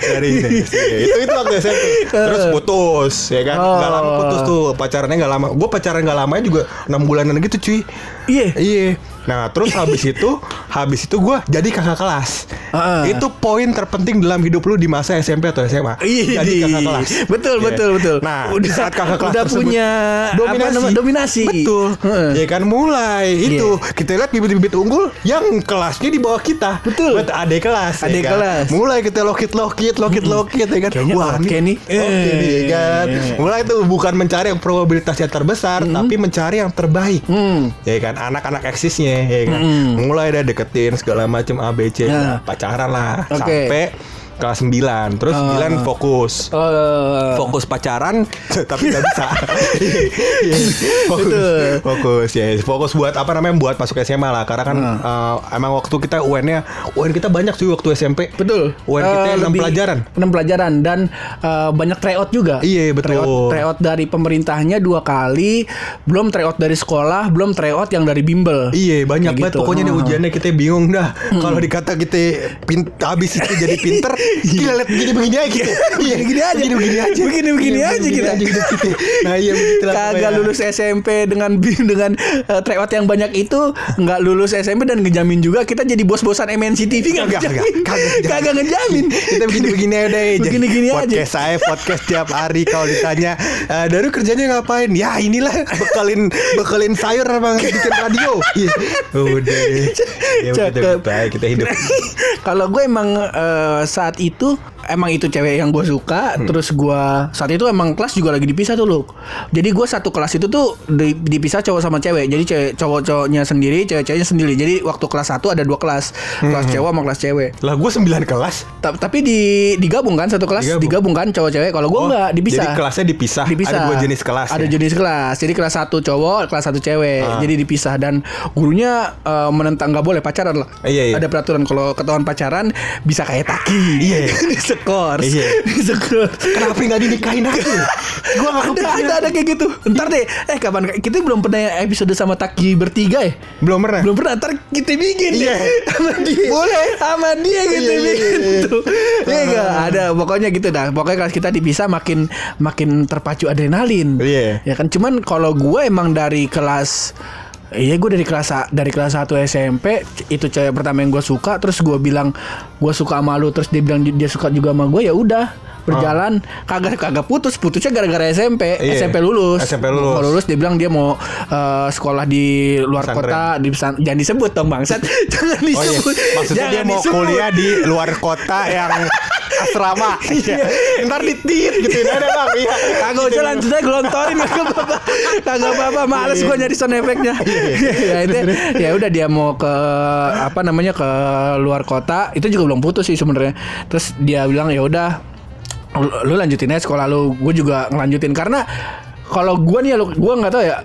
Dari Ines. iya. Itu itu waktu SMP. Terus putus, ya kan. Oh. Gak lama putus tuh pacarannya gak lama. Gue pacaran gak lamanya juga enam bulanan gitu cuy. Iya. Iya. Nah terus habis itu, habis itu gue jadi kakak kelas. Heeh. Itu poin terpenting dalam hidup lu di masa SMP atau SMA. Ih, Jadi kakak kelas. Iya, Betul, Iya. betul, betul. Nah, Udah- di saat kakak kelas udah tersebut punya apa namanya, dominasi. Betul. Heeh. Iya. Ya kan mulai itu kita lihat bibit-bibit unggul yang kelasnya di bawah kita. Betul. Buat adik kelas. Adik kan? kelas. Mulai kita lokit-lokit, lokit-lokit ya kan. Kayaknya oke nih. Iya. Oke nih ya kan. Mulai tuh bukan mencari yang probabilitasnya terbesar, tapi mencari yang terbaik. Hmm. Ya kan anak-anak eksisnya ya kan. Mulai dah deketin segala macam ABC Ya. pacaran lah Oke. sampai kelas 9. Terus 9 fokus Oh, fokus pacaran tapi nggak bisa Iya, fokus fokus ya fokus buat apa namanya buat masuk SMA lah karena kan Hmm. eh, emang waktu kita UN-nya UN kita banyak sih waktu SMP Betul. UN kita Eh, enam lebih- pelajaran enam pelajaran dan eh, banyak tryout juga. Iya, betul. Tryout, tryout dari pemerintahnya dua kali, belum tryout dari sekolah, belum tryout yang dari bimbel. Iya banyak Kayak banget gitu. pokoknya di Hmm. ujiannya kita bingung dah kalau dikata kita pin habis itu jadi pinter kita lihat begini begini aja kita iya Begini-begini Iya. aja. begini begini aja Begini-begini Iya, aja begini-begini aja kita. kita. nah iya begitulah Kagak pokoknya. lulus SMP dengan bi- dengan eh, tryout yang banyak itu nggak lulus SMP dan ngejamin juga kita jadi bos-bosan MNC TV nggak Kagak, ngejamin. kagak, kagak. Kagak ngejamin. kita begini-begini aja deh Jadi Begini-gini aja. podcast saya podcast tiap hari kalau ditanya "Eh, dari kerjanya ngapain ya inilah bekalin bekalin sayur bang bikin radio Iya. udah ya, udah, Cakep. baik kita hidup Kalau gue emang eh, saat itu emang itu cewek yang gue suka, terus gue saat itu emang kelas juga lagi dipisah tuh loh. Jadi gue satu kelas itu tuh di- dipisah cowok sama cewek. Jadi cewek cowok-cowoknya sendiri, cewek-ceweknya sendiri. Jadi waktu kelas satu ada dua kelas, kelas cowok sama kelas cewek. lah gue 9 kelas Ta- tapi di digabung kan satu kelas Digabung. digabung, kan cowok cewek. Kalau gue Oh, enggak dipisah. jadi kelasnya dipisah. Dipisah. Ada dua jenis kelas Ada ya? jenis kelas. Jadi kelas satu cowok, kelas satu cewek. Ah. Jadi dipisah dan gurunya eh, menentang nggak boleh pacaran lah. Iya, iya. Ada peraturan kalau ketahuan pacaran bisa kayak taki. Iya, iya. Disekor. Iya. Disekor. kenapa nggak dinikahin aja gue nggak Ada, ada kepikiran ada kayak gitu. Ntar deh. Eh kapan kita belum pernah episode sama Taki bertiga ya? belum pernah Belum pernah ntar kita bikin deh Iya. sama dia. Boleh. Sama dia Iya, kita iya, bikin iya, iya. tuh. Iya nggak? ada pokoknya gitu dah. Pokoknya kalau kita dipisah makin makin terpacu adrenalin. Iya. Ya kan cuman kalau gue emang dari kelas Iya gue dari kelas sa- dari kelas 1 SMP itu cewek pertama yang gue suka terus gue bilang gue suka sama lu terus dia bilang dia suka juga sama gue ya udah berjalan kagak kagak putus putusnya gara-gara SMP Ah. Iya. SMP lulus SMP lulus. Mau lulus dia bilang dia mau eh, sekolah di luar Pesantren. kota di pesan jangan disebut dong bangsat jangan Oh iya, disebut maksudnya dia Jangan mau disebut. kuliah di luar kota yang asrama. Iya. Ntar ditit gitu ya, ada bang. Iya. Kagak Gitu. usah lanjut aja gelontorin kagak apa-apa. Kagak apa-apa, males Iya, gua nyari sound effect-nya. ya itu ya udah dia mau ke apa namanya ke luar kota, itu juga belum putus sih sebenarnya. Terus dia bilang ya udah lu- lu lanjutin aja sekolah lu, gue juga ngelanjutin karena kalau gua nih ya lu, gue nggak tahu ya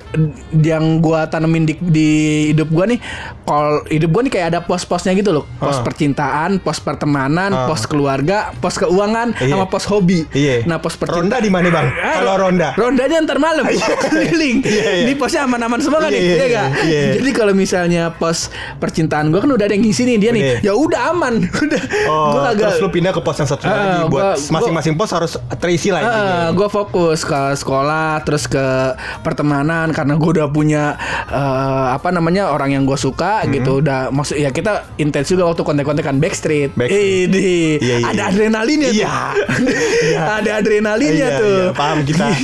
yang gua tanemin di, di hidup gua nih, kalau hidup gua nih kayak ada pos-posnya gitu loh, Ah. pos percintaan, pos pertemanan, Ah. pos keluarga, pos keuangan, Iya. sama pos hobi. Iya. Nah pos percintaan. Ronda di mana bang? Ah, Kalau ronda. Rondanya ntar malam Keliling Iya, iya. Ini posnya aman-aman semua Iya, kan nih iya, Iya nggak? iya. Jadi kalau misalnya pos percintaan gue kan udah ada yang ngisi nih dia nih Iya. Ya udah aman Udah Oh, Gue kagak terus lu pindah ke pos yang satu lagi. Buat Ah, gua- Eh, gua- masing-masing pos harus terisi lah. intinya. gue fokus ke sekolah terus ke pertemanan karena gue udah punya eh, apa namanya orang yang gue suka Hmm. gitu udah maksud ya kita intens juga waktu kontek-kontekan backstreet, Backstreet. Idi, Iya, iya, ada iya. adrenalinnya tuh. Iya. ada adrenalinnya Iya, tuh iya, paham kita.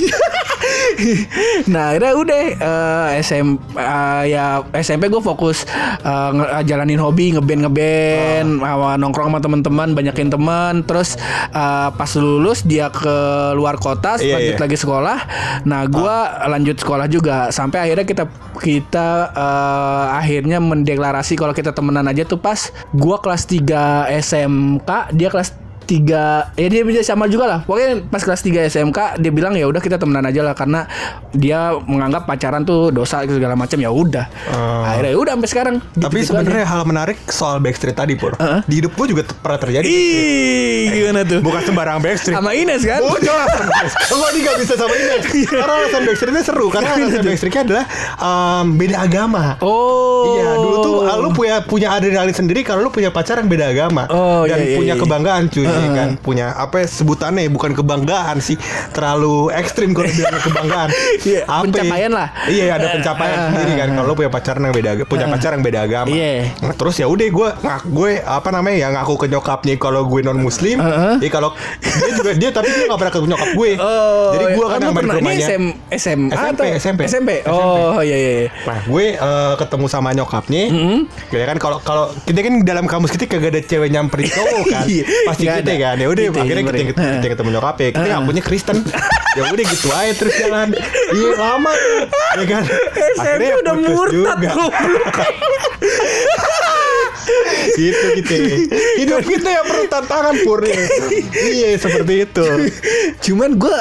nah akhirnya udah eh, SM eh, ya SMP gue fokus eh, nge- jalanin hobi ngeband ngeband Ah. sama nongkrong sama teman-teman banyakin teman terus eh, pas lulus dia ke luar kota Iya, lanjut iya. lagi sekolah nah gue Ah. lanjut sekolah juga sampai akhirnya kita kita eh, akhirnya mendeklarasi kalau kita temenan aja tuh pas gue kelas 3 SMK dia kelas tiga ya dia bisa sama juga lah pokoknya pas kelas 3 SMK dia bilang ya udah kita temenan aja lah karena dia menganggap pacaran tuh dosa gitu segala macam ya udah Hmm. akhirnya ya udah sampai sekarang Tapi Gitu-gitu sebenarnya hal menarik soal backstreet tadi pur. Heeh. Di hidup gua juga ter- pernah aja. terjadi. ih gimana tuh Bukan sembarang backstreet. sama Ines kan Oh jelas Gue ini gak bisa sama ini Karena alasan backstreetnya seru Karena alasan backstreetnya adalah em, Beda agama oh Iya dulu tuh ah, Lu punya punya adrenalin sendiri Kalau lu punya pacaran beda agama Oh, Dan iya, iya, punya iya. kebanggaan cuy ya kan Punya apa ya, sebutannya ya, Bukan kebanggaan sih Terlalu ekstrim Kalau bilang kebanggaan Iya, Apa ya? pencapaian lah. Iya ada pencapaian Eh, sendiri kan Kalau lu punya pacaran yang beda aga- Punya pacaran yang beda agama Iya. Nah, Terus ya udah gue ngak gue apa namanya ya ngaku ke nyokapnya kalau gue non muslim. Heeh. Iya kalau dia juga dia tapi dia nggak pernah ke nyokap gue. Oh, Jadi gue oh, kan lu yang main ke pernah ini rumahnya. SM, SMA SMP, atau SMP. SMP. Oh, iya iya. iya. Nah, gue eh, ketemu sama nyokapnya. Mm-hmm. Ya kan kalau kalau kita kan dalam kampus kita kagak ada cewek nyamperin cowok kan. Iya, Pasti nggak kita ada. kan. Ya udah Kita akhirnya kita, nyamperin. kita, kita ketemu nyokapnya. Kita ngakunya Kristen. ya udah gitu aja terus jalan. Iya lama. Ya kan. SMP Akhirnya udah putus murtad juga. goblok. gitu gitu hidup kita yang perlu tantangan pur iya seperti itu Cuman gue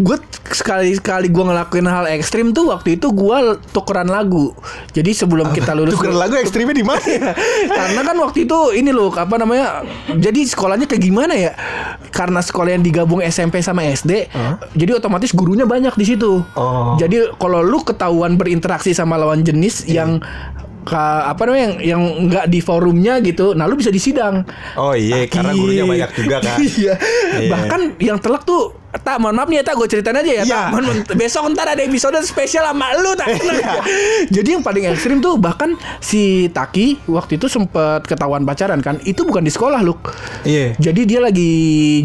gue sekali sekali gue ngelakuin hal ekstrim tuh waktu itu gue tukeran lagu. Jadi sebelum kita lulus tuker lagu ekstrimnya di mana ya karena kan waktu itu ini loh apa namanya jadi sekolahnya kayak gimana ya karena sekolah yang digabung SMP sama SD jadi otomatis gurunya banyak di situ Oh. jadi kalau lu ketahuan berinteraksi sama lawan jenis yang ka- apa namanya yang yang nggak di forumnya gitu nah lu bisa disidang oh iya karena gurunya banyak juga kan iya. Iya. Bahkan yang telak tuh tak mohon maaf nih ya tak gue ceritain aja ya Iya. tak mohon, mohon, besok ntar ada episode spesial sama lu tak jadi yang paling ekstrim tuh bahkan si Taki waktu itu sempet ketahuan pacaran kan itu bukan di sekolah lu Iya. jadi dia lagi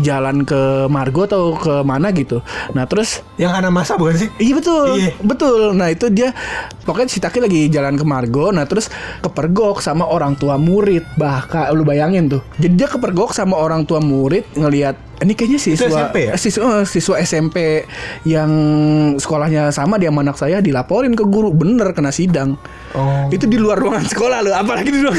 jalan ke Margo atau ke mana gitu nah terus yang anak masa bukan sih Iya betul, Iya. betul. Nah itu dia pokoknya si Taki lagi jalan ke Margo, nah terus kepergok sama orang tua murid. Bahkan lu bayangin tuh. Jadi dia kepergok sama orang tua murid ngelihat ini kayaknya siswa SMP ya? siswa eh, siswa SMP yang sekolahnya sama dia sama anak saya dilaporin ke guru, bener kena sidang. Oh. Itu di luar ruangan sekolah loh, apalagi di, ruang-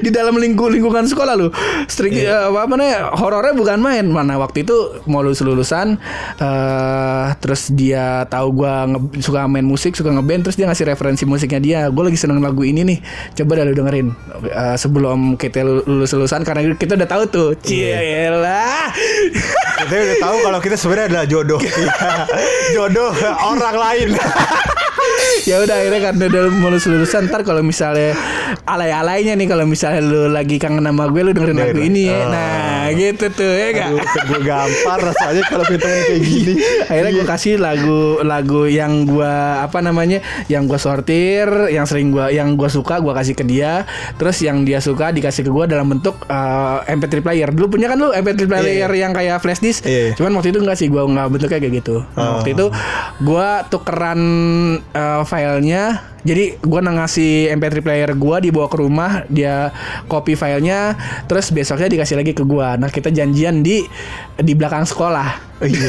di dalam lingku- lingkungan sekolah loh. Strik eh, apa namanya? Horornya bukan main. Mana waktu itu mau lulus lulusan eh terus dia tahu gua nge- suka main musik, suka ngeband, terus dia ngasih referensi musiknya dia. Gue lagi seneng lagu ini nih. Coba dah lu dengerin Eh, sebelum kita lulus lulusan karena kita udah tahu tuh. Cielah. kita udah tahu kalau kita sebenarnya adalah jodoh Iya. jodoh orang lain ya udah akhirnya karena udah lulus lulusan ntar kalau misalnya alay alaynya nih kalau misalnya lu lagi kangen sama gue lu dengerin lagu Dengerin. ini ya Ah. nah Nah, gitu tuh ya enggak? Aduh, gue gampar rasanya kalau punya temen kayak gini. akhirnya gue Iya. kasih lagu lagu yang gua apa namanya yang gua sortir yang sering gua yang gua suka gua kasih ke dia terus yang dia suka dikasih ke gua dalam bentuk eh, MP3 player dulu punya kan lu MP3 player yang kayak flash disk Iya. Oh. cuman waktu itu enggak sih gua nggak bentuknya kayak gitu Nah, waktu itu gua tukeran eh, filenya jadi gua ngasih MP3 player gua dibawa ke rumah dia copy filenya terus besoknya dikasih lagi ke gua nah kita janjian di di belakang sekolah Oh, iya.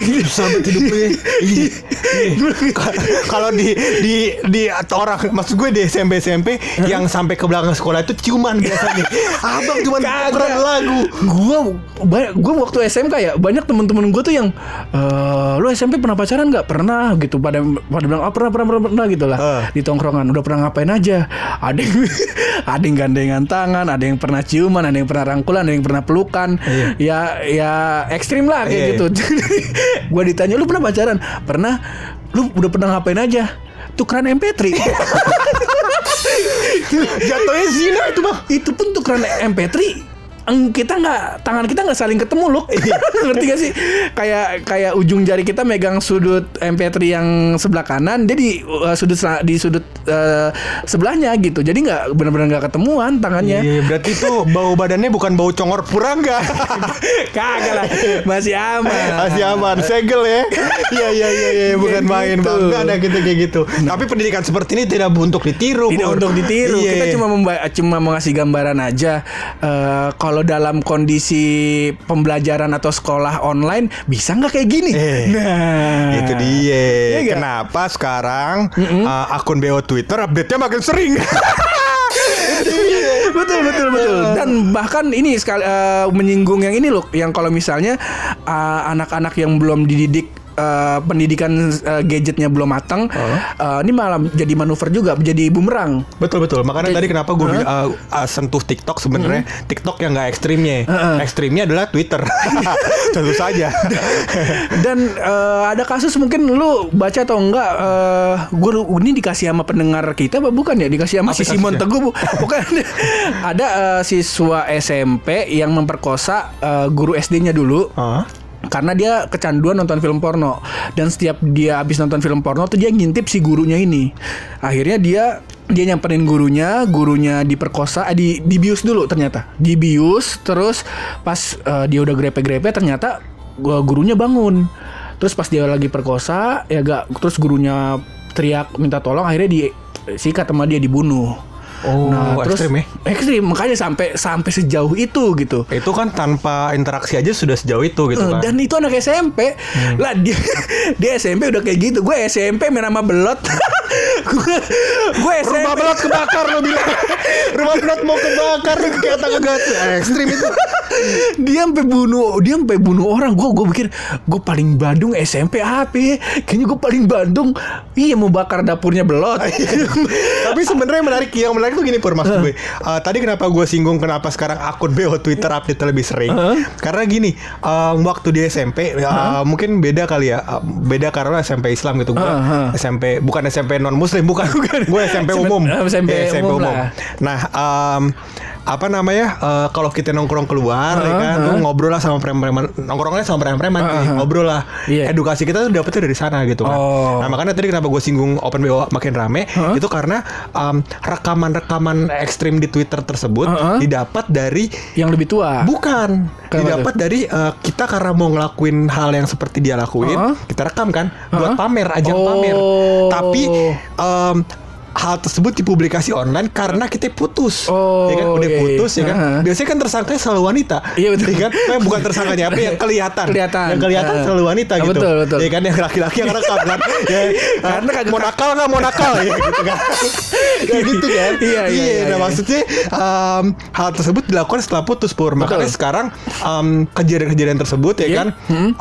Susah banget hidup lu ya. Iya. Iya. Ka- Kalau di di di atau orang maksud gue di SMP SMP yang sampai ke belakang sekolah itu ciuman biasanya. Abang cuman Kagak. tukeran lagu. gua banyak gua waktu SMK ya banyak temen-temen gua tuh yang eh lu SMP pernah pacaran nggak pernah gitu pada pada bilang ah pernah pernah pernah, pernah gitu lah Eh. di tongkrongan udah pernah ngapain aja ada yang ada yang gandengan tangan ada yang pernah ciuman ada yang pernah rangkulan ada yang pernah pelukan ya ya ekstrim lah kayak Iya, gitu Jadi, gua ditanya lu pernah pacaran pernah lu udah pernah ngapain aja tukeran MP3 Jatuhnya zina itu bang. itu pun tukeran MP3 eng- kita nggak tangan kita nggak saling ketemu loh Iya. ngerti gak sih kayak kayak ujung jari kita megang sudut MP3 yang sebelah kanan dia di uh, sudut sel- di sudut uh, sebelahnya gitu jadi nggak benar-benar nggak ketemuan tangannya Iya, berarti itu bau badannya bukan bau congor purangga. kagak lah masih aman Masih aman, segel ya. Iya iya iya iya, bukan Kayak main gitu. bang. Nggak ada gitu kayak gitu. Tapi pendidikan seperti ini tidak untuk ditiru. tidak Pur. untuk ditiru Iya. kita cuma memba- cuma mau ngasih gambaran aja Eh, kalau dalam kondisi pembelajaran atau sekolah online bisa nggak kayak gini Eh, nah Itu dia. Iya nggak? Kenapa sekarang uh, akun BO Twitter update-nya makin sering? betul betul betul dan bahkan ini sekali eh, menyinggung yang ini loh yang kalau misalnya eh, anak-anak yang belum dididik eh, pendidikan eh, gadgetnya belum matang eh, ini malah jadi manuver juga jadi bumerang betul betul. Makanya tadi kenapa gue uh, sentuh TikTok sebenarnya TikTok yang nggak ekstrimnya. Ekstrimnya adalah Twitter. Tentu saja. dan eh, ada kasus mungkin lu baca atau enggak eh gue ini dikasih sama pendengar kita apa bukan ya dikasih sama si kasusnya? Simon Teguh bu- bukan ada eh, siswa SMP yang memperkosa eh, guru SD-nya dulu Hah? karena dia kecanduan nonton film porno dan setiap dia habis nonton film porno tuh dia ngintip si gurunya ini akhirnya dia dia nyamperin gurunya gurunya diperkosa eh, di dibius dulu ternyata dibius terus pas eh, dia udah grepe-grepe ternyata gua gurunya bangun terus pas dia lagi perkosa ya gak terus gurunya teriak minta tolong akhirnya di sikat sama dia dibunuh Nah, Oh, ekstrim ya? ekstrim makanya sampai sampai sejauh itu gitu Itu kan tanpa interaksi aja sudah sejauh itu gitu Eh, kan. Hmm. Dan itu anak SMP. Lah dia dia SMP udah kayak gitu. Gue SMP main sama belot. gue gue SMP. Rumah belot kebakar lo bilang. Rumah belot mau kebakar lu kayak tangga gas. Ekstrim itu. Dia sampai bunuh, dia sampai bunuh orang. Gue gue pikir gue paling Bandung SMP apa? ya? Kayaknya gue paling Bandung. Iya mau bakar dapurnya belot. Ah, iya. Tapi sebenarnya menarik yang menarik tuh gini pur maksud gue. Eh, tadi kenapa gue singgung kenapa sekarang akun BO Twitter update lebih sering? Karena gini, em, waktu di SMP eh, mungkin beda kali ya, eh, beda karena SMP Islam gitu gue. Heeh. SMP bukan SMP non Muslim bukan, Bukan. gue SMP SMP umum. SMP Iya, umum lah. Nah, em, apa namanya? eh, kalau kita nongkrong keluar, ya kan, lu ngobrol lah sama preman-preman, nongkrongnya sama preman-preman, eh, ngobrol lah. Iya. Edukasi kita tuh dapetnya dari sana gitu kan. Oh. Nah, makanya tadi kenapa gue singgung open BO makin rame itu karena um, rekaman-rekaman ekstrim di Twitter tersebut Heeh. didapat dari Yang lebih tua. bukan Kenapa didapat dari uh, kita karena mau ngelakuin hal yang seperti dia lakuin Heeh. kita rekam kan buat pamer ajang Oh. pamer tapi um, hal tersebut dipublikasi online karena kita putus, Oh, ya kan udah iya, iya. putus ya kan. Heeh. Biasanya kan tersangkanya selalu wanita, Iya, betul. kan? Eh, bukan tersangkanya, apa yang kelihatan, Kelihatan. yang kelihatan Heeh. selalu wanita Ah, gitu, betul, betul. ya kan yang laki-laki yang rekam kan, ya, Karena kagak- mau nakal nggak mau nakal ya gitu kan, ya gitu kan, Iya, iya, iya, nah, iya. maksudnya um, hal tersebut dilakukan setelah putus pur, makanya sekarang um, kejadian-kejadian tersebut ya Iya. kan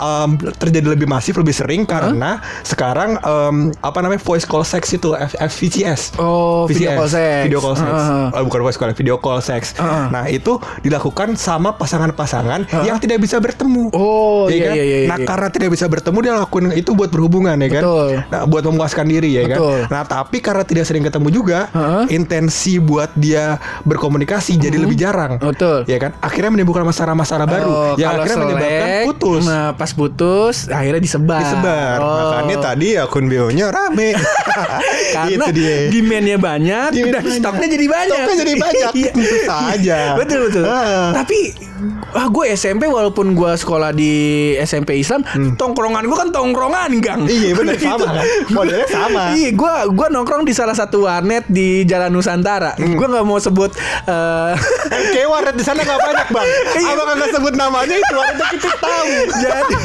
um, terjadi lebih masif, lebih sering karena sekarang um, apa namanya voice call sex itu F- FVCS, seks. Oh, VCS, video call sex. Video call sex. Heeh. Oh, bukan voice call, video call sex. Heeh. Nah, itu dilakukan sama pasangan-pasangan yang tidak bisa bertemu. Oh, iya, kan? iya, iya, Nah, iya. karena tidak bisa bertemu dia lakuin itu buat berhubungan ya kan. Betul. Nah, buat memuaskan diri ya Betul. kan. Nah, tapi karena tidak sering ketemu juga, Heeh. Hmm. intensi buat dia berkomunikasi jadi lebih jarang. Betul. Ya kan? Akhirnya menimbulkan masalah-masalah baru Oh, yang kalau akhirnya menyebabkan selek, putus. Nah, pas putus akhirnya disebar. Disebar. Oh. Makanya tadi akun bio-nya rame. karena Itu dia. demand-nya banyak Demand dan banyak. stoknya jadi banyak. Stoknya jadi banyak, Iya. tentu saja. betul betul. Ah. Tapi ah gue SMP walaupun gue sekolah di SMP Islam, tongkrongan gue kan tongkrongan gang. Hmm. Iya, bener, Udah sama kan? Modelnya sama. Iya, gue gua nongkrong di salah satu warnet di Jalan Nusantara. Hmm. Gue nggak mau sebut eh, Kayak warnet di sana gak banyak bang. Iya. Abang kagak sebut namanya itu warnetnya kita tahu. jadi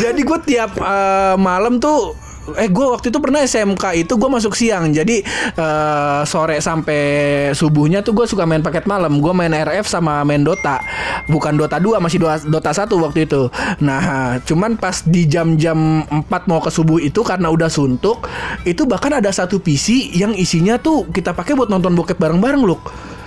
jadi gue tiap eh, malam tuh eh gue waktu itu pernah SMK itu gue masuk siang jadi eh, sore sampai subuhnya tuh gue suka main paket malam gue main RF sama main Dota bukan Dota 2 masih Dota Dota 1 waktu itu nah cuman pas di jam-jam 4 mau ke subuh itu karena udah suntuk itu bahkan ada satu PC yang isinya tuh kita pakai buat nonton bokep bareng-bareng loh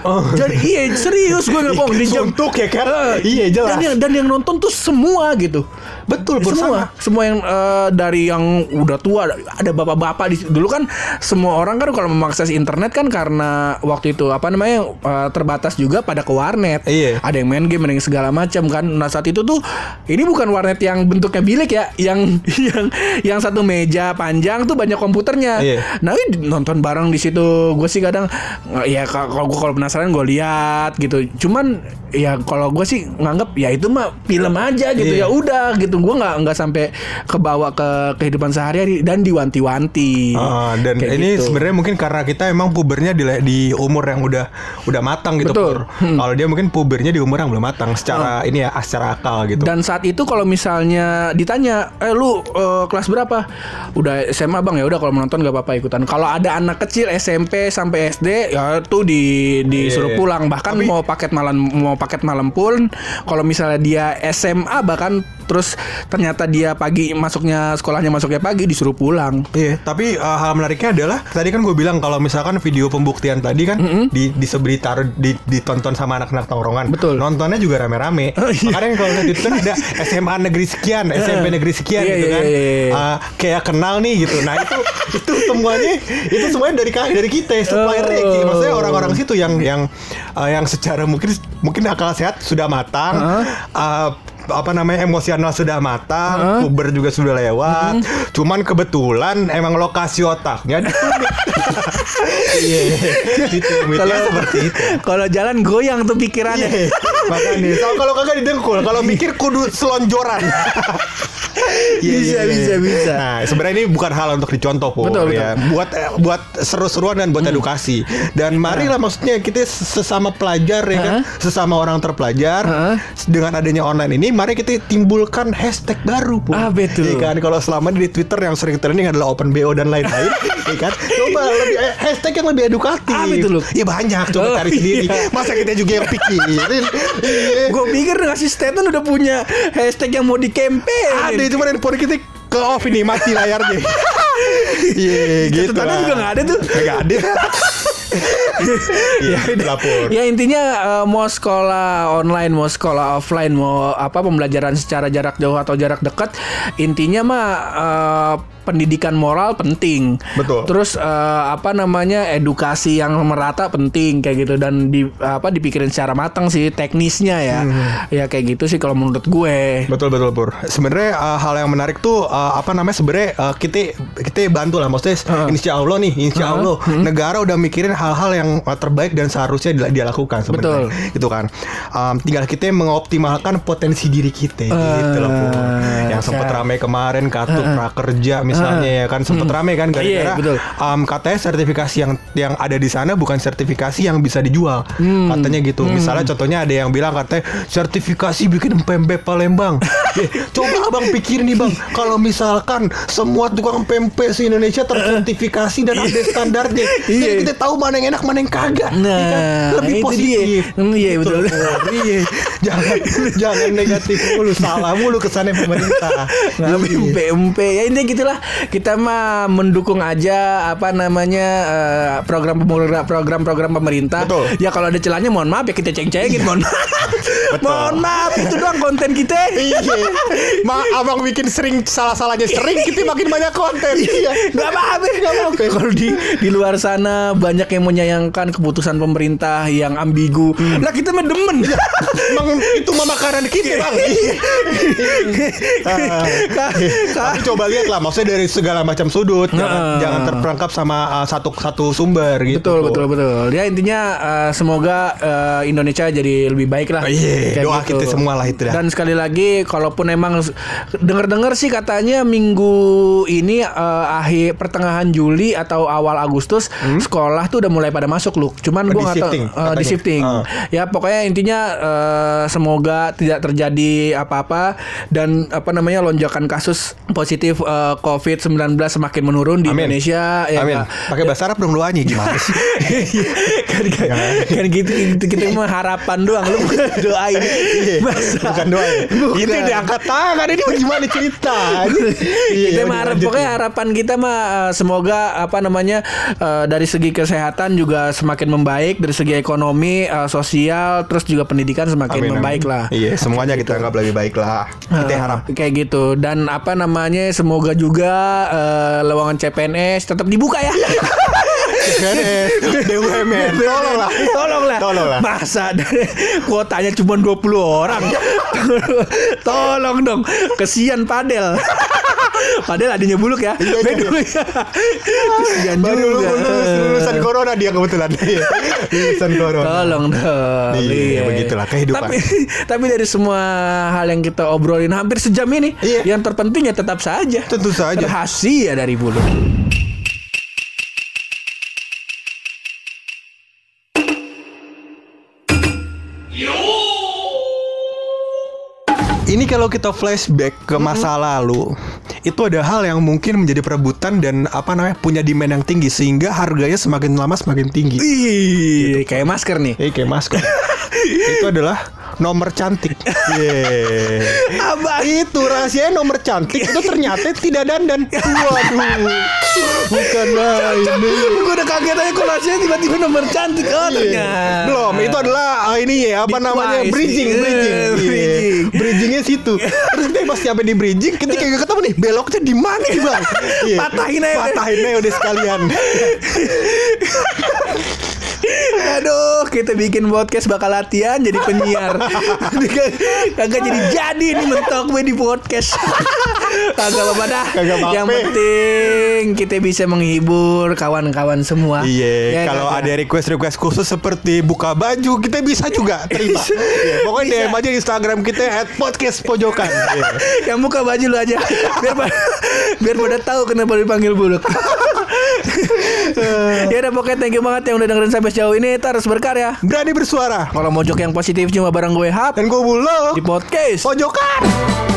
jadi iya serius gue nggak bohong di jam Oh. Suntuk ya kan? Eh, Iya, jelas. dan yang dan yang nonton tuh semua gitu betul bersama. semua semua yang eh, dari yang udah tua ada bapak-bapak di dulu kan semua orang kan kalau mengakses internet kan karena waktu itu apa namanya eh, terbatas juga pada ke warnet Iya. ada yang main game ada yang segala macam kan nah saat itu tuh ini bukan warnet yang bentuknya bilik ya yang yang yang satu meja panjang tuh banyak komputernya Iya. nah ini nonton bareng di situ gue sih kadang eh, ya ka- kalau gue kalau penasaran gue lihat gitu cuman ya kalau gue sih nganggep ya itu mah film aja gitu Iya. ya udah gitu gue nggak nggak sampai kebawa ke kehidupan sehari-hari dan diwanti-wanti Ah, dan Kayak ini gitu. sebenarnya mungkin karena kita emang pubernya di, di umur yang udah udah matang gitu. Betul. Hmm. Ah. Pur. Kalau dia mungkin pubernya di umur yang belum matang secara ini ya secara akal gitu. Dan saat itu kalau misalnya ditanya, eh lu eh, kelas berapa? Udah SMA bang ya udah kalau menonton gak apa-apa ikutan. Kalau ada anak kecil SMP sampai SD ya tuh di disuruh Iya. pulang. Bahkan mau paket malam mau paket malam pun, kalau misalnya dia SMA bahkan terus ternyata dia pagi masuknya sekolahnya masuknya pagi disuruh pulang. Iya, tapi uh, hal menariknya adalah tadi kan gue bilang kalau misalkan video pembuktian tadi kan di diseberi taruh di, ditonton sama anak-anak tongkrongan. Betul. Oh, iya. Nontonnya juga rame-rame. Makanya kalau lihat itu kan ada SMA negeri sekian, SMP negeri sekian Iya, gitu iya, kan. iya, iya. Uh, kayak kenal nih gitu. Nah, itu itu semuanya itu semuanya dari ka- dari kita supplier Oh. Maksudnya orang-orang situ yang yang uh, yang secara mungkin mungkin akal sehat sudah matang. uh, apa namanya emosional sudah matang, puber juga sudah Hmm. lewat. Cuman kebetulan emang lokasi otaknya di tumit. Iya, di tumit. Ya, seperti itu. kalau jalan goyang tuh pikirannya. Iya, makanya. Iya. So, kalau kagak didengkul, kalau mikir kudu selonjoran. Iya, Bisa, iya, iya. bisa, bisa. Nah, sebenarnya ini bukan hal untuk dicontoh, Pur, Betul, Hmm. ya. Buat eh, buat seru-seruan dan buat edukasi. Dan marilah Nah. maksudnya kita sesama pelajar ya kan, sesama orang terpelajar Heeh. dengan adanya online ini, mari kita timbulkan hashtag baru, Pur. Ah, betul. Iya kan, kalau selama ini di Twitter yang sering trending adalah open BO dan lain-lain, ya kan. Coba lebih hashtag yang lebih edukatif. Ah, betul, lu. Ya banyak, coba Oh, cari iya. sendiri. Masa kita juga yang pikirin? Iya. Gue pikir ngasih statement udah punya hashtag yang mau di campaign. Ada itu mana handphone kita ke off ini mati layarnya. Iya gitu. Catatannya juga nggak ada tuh. Enggak ada. Iya, lapor. Ya intinya eh, mau sekolah online, mau sekolah offline, mau apa pembelajaran secara jarak jauh atau jarak dekat, intinya mah eh, pendidikan moral penting. Betul. Terus eh, apa namanya edukasi yang merata penting kayak gitu dan di apa dipikirin secara matang sih teknisnya ya. Ya kayak gitu sih kalau menurut gue. Betul betul Pur. Sebenarnya uh, hal yang menarik tuh uh, apa namanya sebenarnya uh, kita kita bantu lah maksudnya Insya Allah nih Insya Allah Hmm. negara udah mikirin hal-hal yang uh, terbaik dan seharusnya dia, dia lakukan sebenarnya. Gitu kan. Um, tinggal kita mengoptimalkan potensi diri kita gitu loh Pur. Eh, Yang sempat siap. rame kemarin kartu prakerja misalnya ya kan sempat rame kan gara-gara Iya, betul. um, katanya sertifikasi yang yang ada di sana bukan sertifikasi yang bisa dijual Hmm. katanya gitu misalnya contohnya ada yang bilang katanya sertifikasi bikin pempek Palembang Eh, coba abang pikir nih bang kalau misalkan semua tukang pempek se Indonesia tersertifikasi dan ada standarnya jadi Iya. kita tahu mana yang enak mana yang kagak ya kan? Nah, lebih itu dia. positif Hmm, iya, Gitu, betul. Pur. Iya. jangan jangan negatif mulu salah mulu kesannya pemerintah Nah, Iya. empe empe ya intinya gitulah kita mah mendukung aja apa namanya eh, program pemerintah program-program pemerintah. Betul. Iya. Ya kalau ada celahnya mohon maaf ya kita ceng-cengin mohon maaf. mohon maaf itu doang konten kita. Iya. Ma, abang bikin sering salah-salahnya sering kita makin banyak konten. Iya. Gak apa-apa Gak apa-apa Kalau di, di luar sana Banyak yang menyayangkan Keputusan pemerintah Yang ambigu Hmm. Lah kita mah demen Iya. Emang itu mah makanan kita, Bang. Iya. Ah. Ka- ka- Tapi coba lihat lah, maksudnya dari segala macam sudut, jangan, Heeh. jangan terperangkap sama uh, satu satu sumber gitu. Betul betul betul. Ya intinya eh, semoga eh, Indonesia jadi lebih baik lah. Oh, iya. Kayak gitu. Doa kita semua lah itu dah. Dan sekali lagi kalaupun emang s- dengar-dengar sih katanya minggu ini eh, akhir pertengahan Juli atau awal Agustus sekolah tuh udah mulai pada masuk lu. Cuman Di gua nggak tahu Hmm? shifting, eh, di katanya. shifting. Ah. Ya pokoknya intinya eh, semoga tidak terjadi apa-apa dan apa namanya lonjakan kasus positif eh, COVID-19 semakin menurun di Amin. Indonesia ya Amin. nggak? Pakai bahasa Arab dong doanya gimana sih? kan, kan, kan gitu, gitu kita mah harapan doang lu bukan doain Iya, Masa- Bukan doa. ya? Bukan. Itu diangkat tangan ini gimana cerita? Iya, kita lanjut, mah harap- lanjut. pokoknya harapan kita mah eh, semoga apa namanya eh, dari segi kesehatan juga semakin membaik dari segi ekonomi eh, sosial terus juga pendidikan semakin Amin, amin. membaik lah Iya, semuanya kita anggap lebih baik lah. Kita Eh, harap. kayak gitu dan apa namanya semoga juga eh, lowongan CPNS tetap dibuka ya BUMN, tolonglah. Tolonglah. Tolonglah. Masa dari kuotanya cuma 20 orang. Tolong dong. Kesian Padel. Padel adanya buluk ya. Iya, iya, iya. Bedul ya. Kesian Baru lulus, juga. lulus- lulusan corona dia kebetulan. Iya, lulusan corona. Tolong dong. Iya, begitulah kehidupan. Tapi, tapi dari semua hal yang kita obrolin hampir sejam ini, Iya. yang terpenting ya tetap saja. Tentu saja. Rahasia dari bulu. Ini kalau kita flashback ke masa lalu, itu ada hal yang mungkin menjadi perebutan dan apa namanya punya demand yang tinggi sehingga harganya semakin lama semakin tinggi. Gitu. Ih, kayak masker nih. Eh, kayak masker. itu adalah nomor cantik. Yeay. Abang Itu rahasia nomor cantik itu ternyata tidak dandan. Waduh. Bukan main. Gue udah kaget aja kok rasanya tiba-tiba nomor cantik Oh ternyata Iya. Belum, itu adalah eh, ini ya apa Di namanya twice. bridging, Iya, bridging, Iya. bridging. bridgingnya situ. Terus dia pas nyampe di bridging, ketika gak ketemu nih beloknya di mana nih bang? Iya. Patahin aja. patahin aja udah sekalian. Aduh kita bikin podcast bakal latihan jadi penyiar Kagak jadi jadi nih mentok gue di podcast Kagak apa-apa dah Kagak apa-apa. Yang penting kita bisa menghibur kawan-kawan semua Iya, Ya, kalau kagak? ada request-request khusus seperti buka baju, kita bisa juga terima. Iya, pokoknya DM aja di Instagram kita at podcast pojokan. Iya. Yang buka baju lu aja Biar pada, biar pada tahu kenapa dipanggil buluk Iya. Ya udah pokoknya thank you banget yang udah dengerin sampai sejauh ini Terus berkarya Berani bersuara. Kalau mojok yang positif cuma bareng gue hap Dan gue bulog di podcast. pojokan.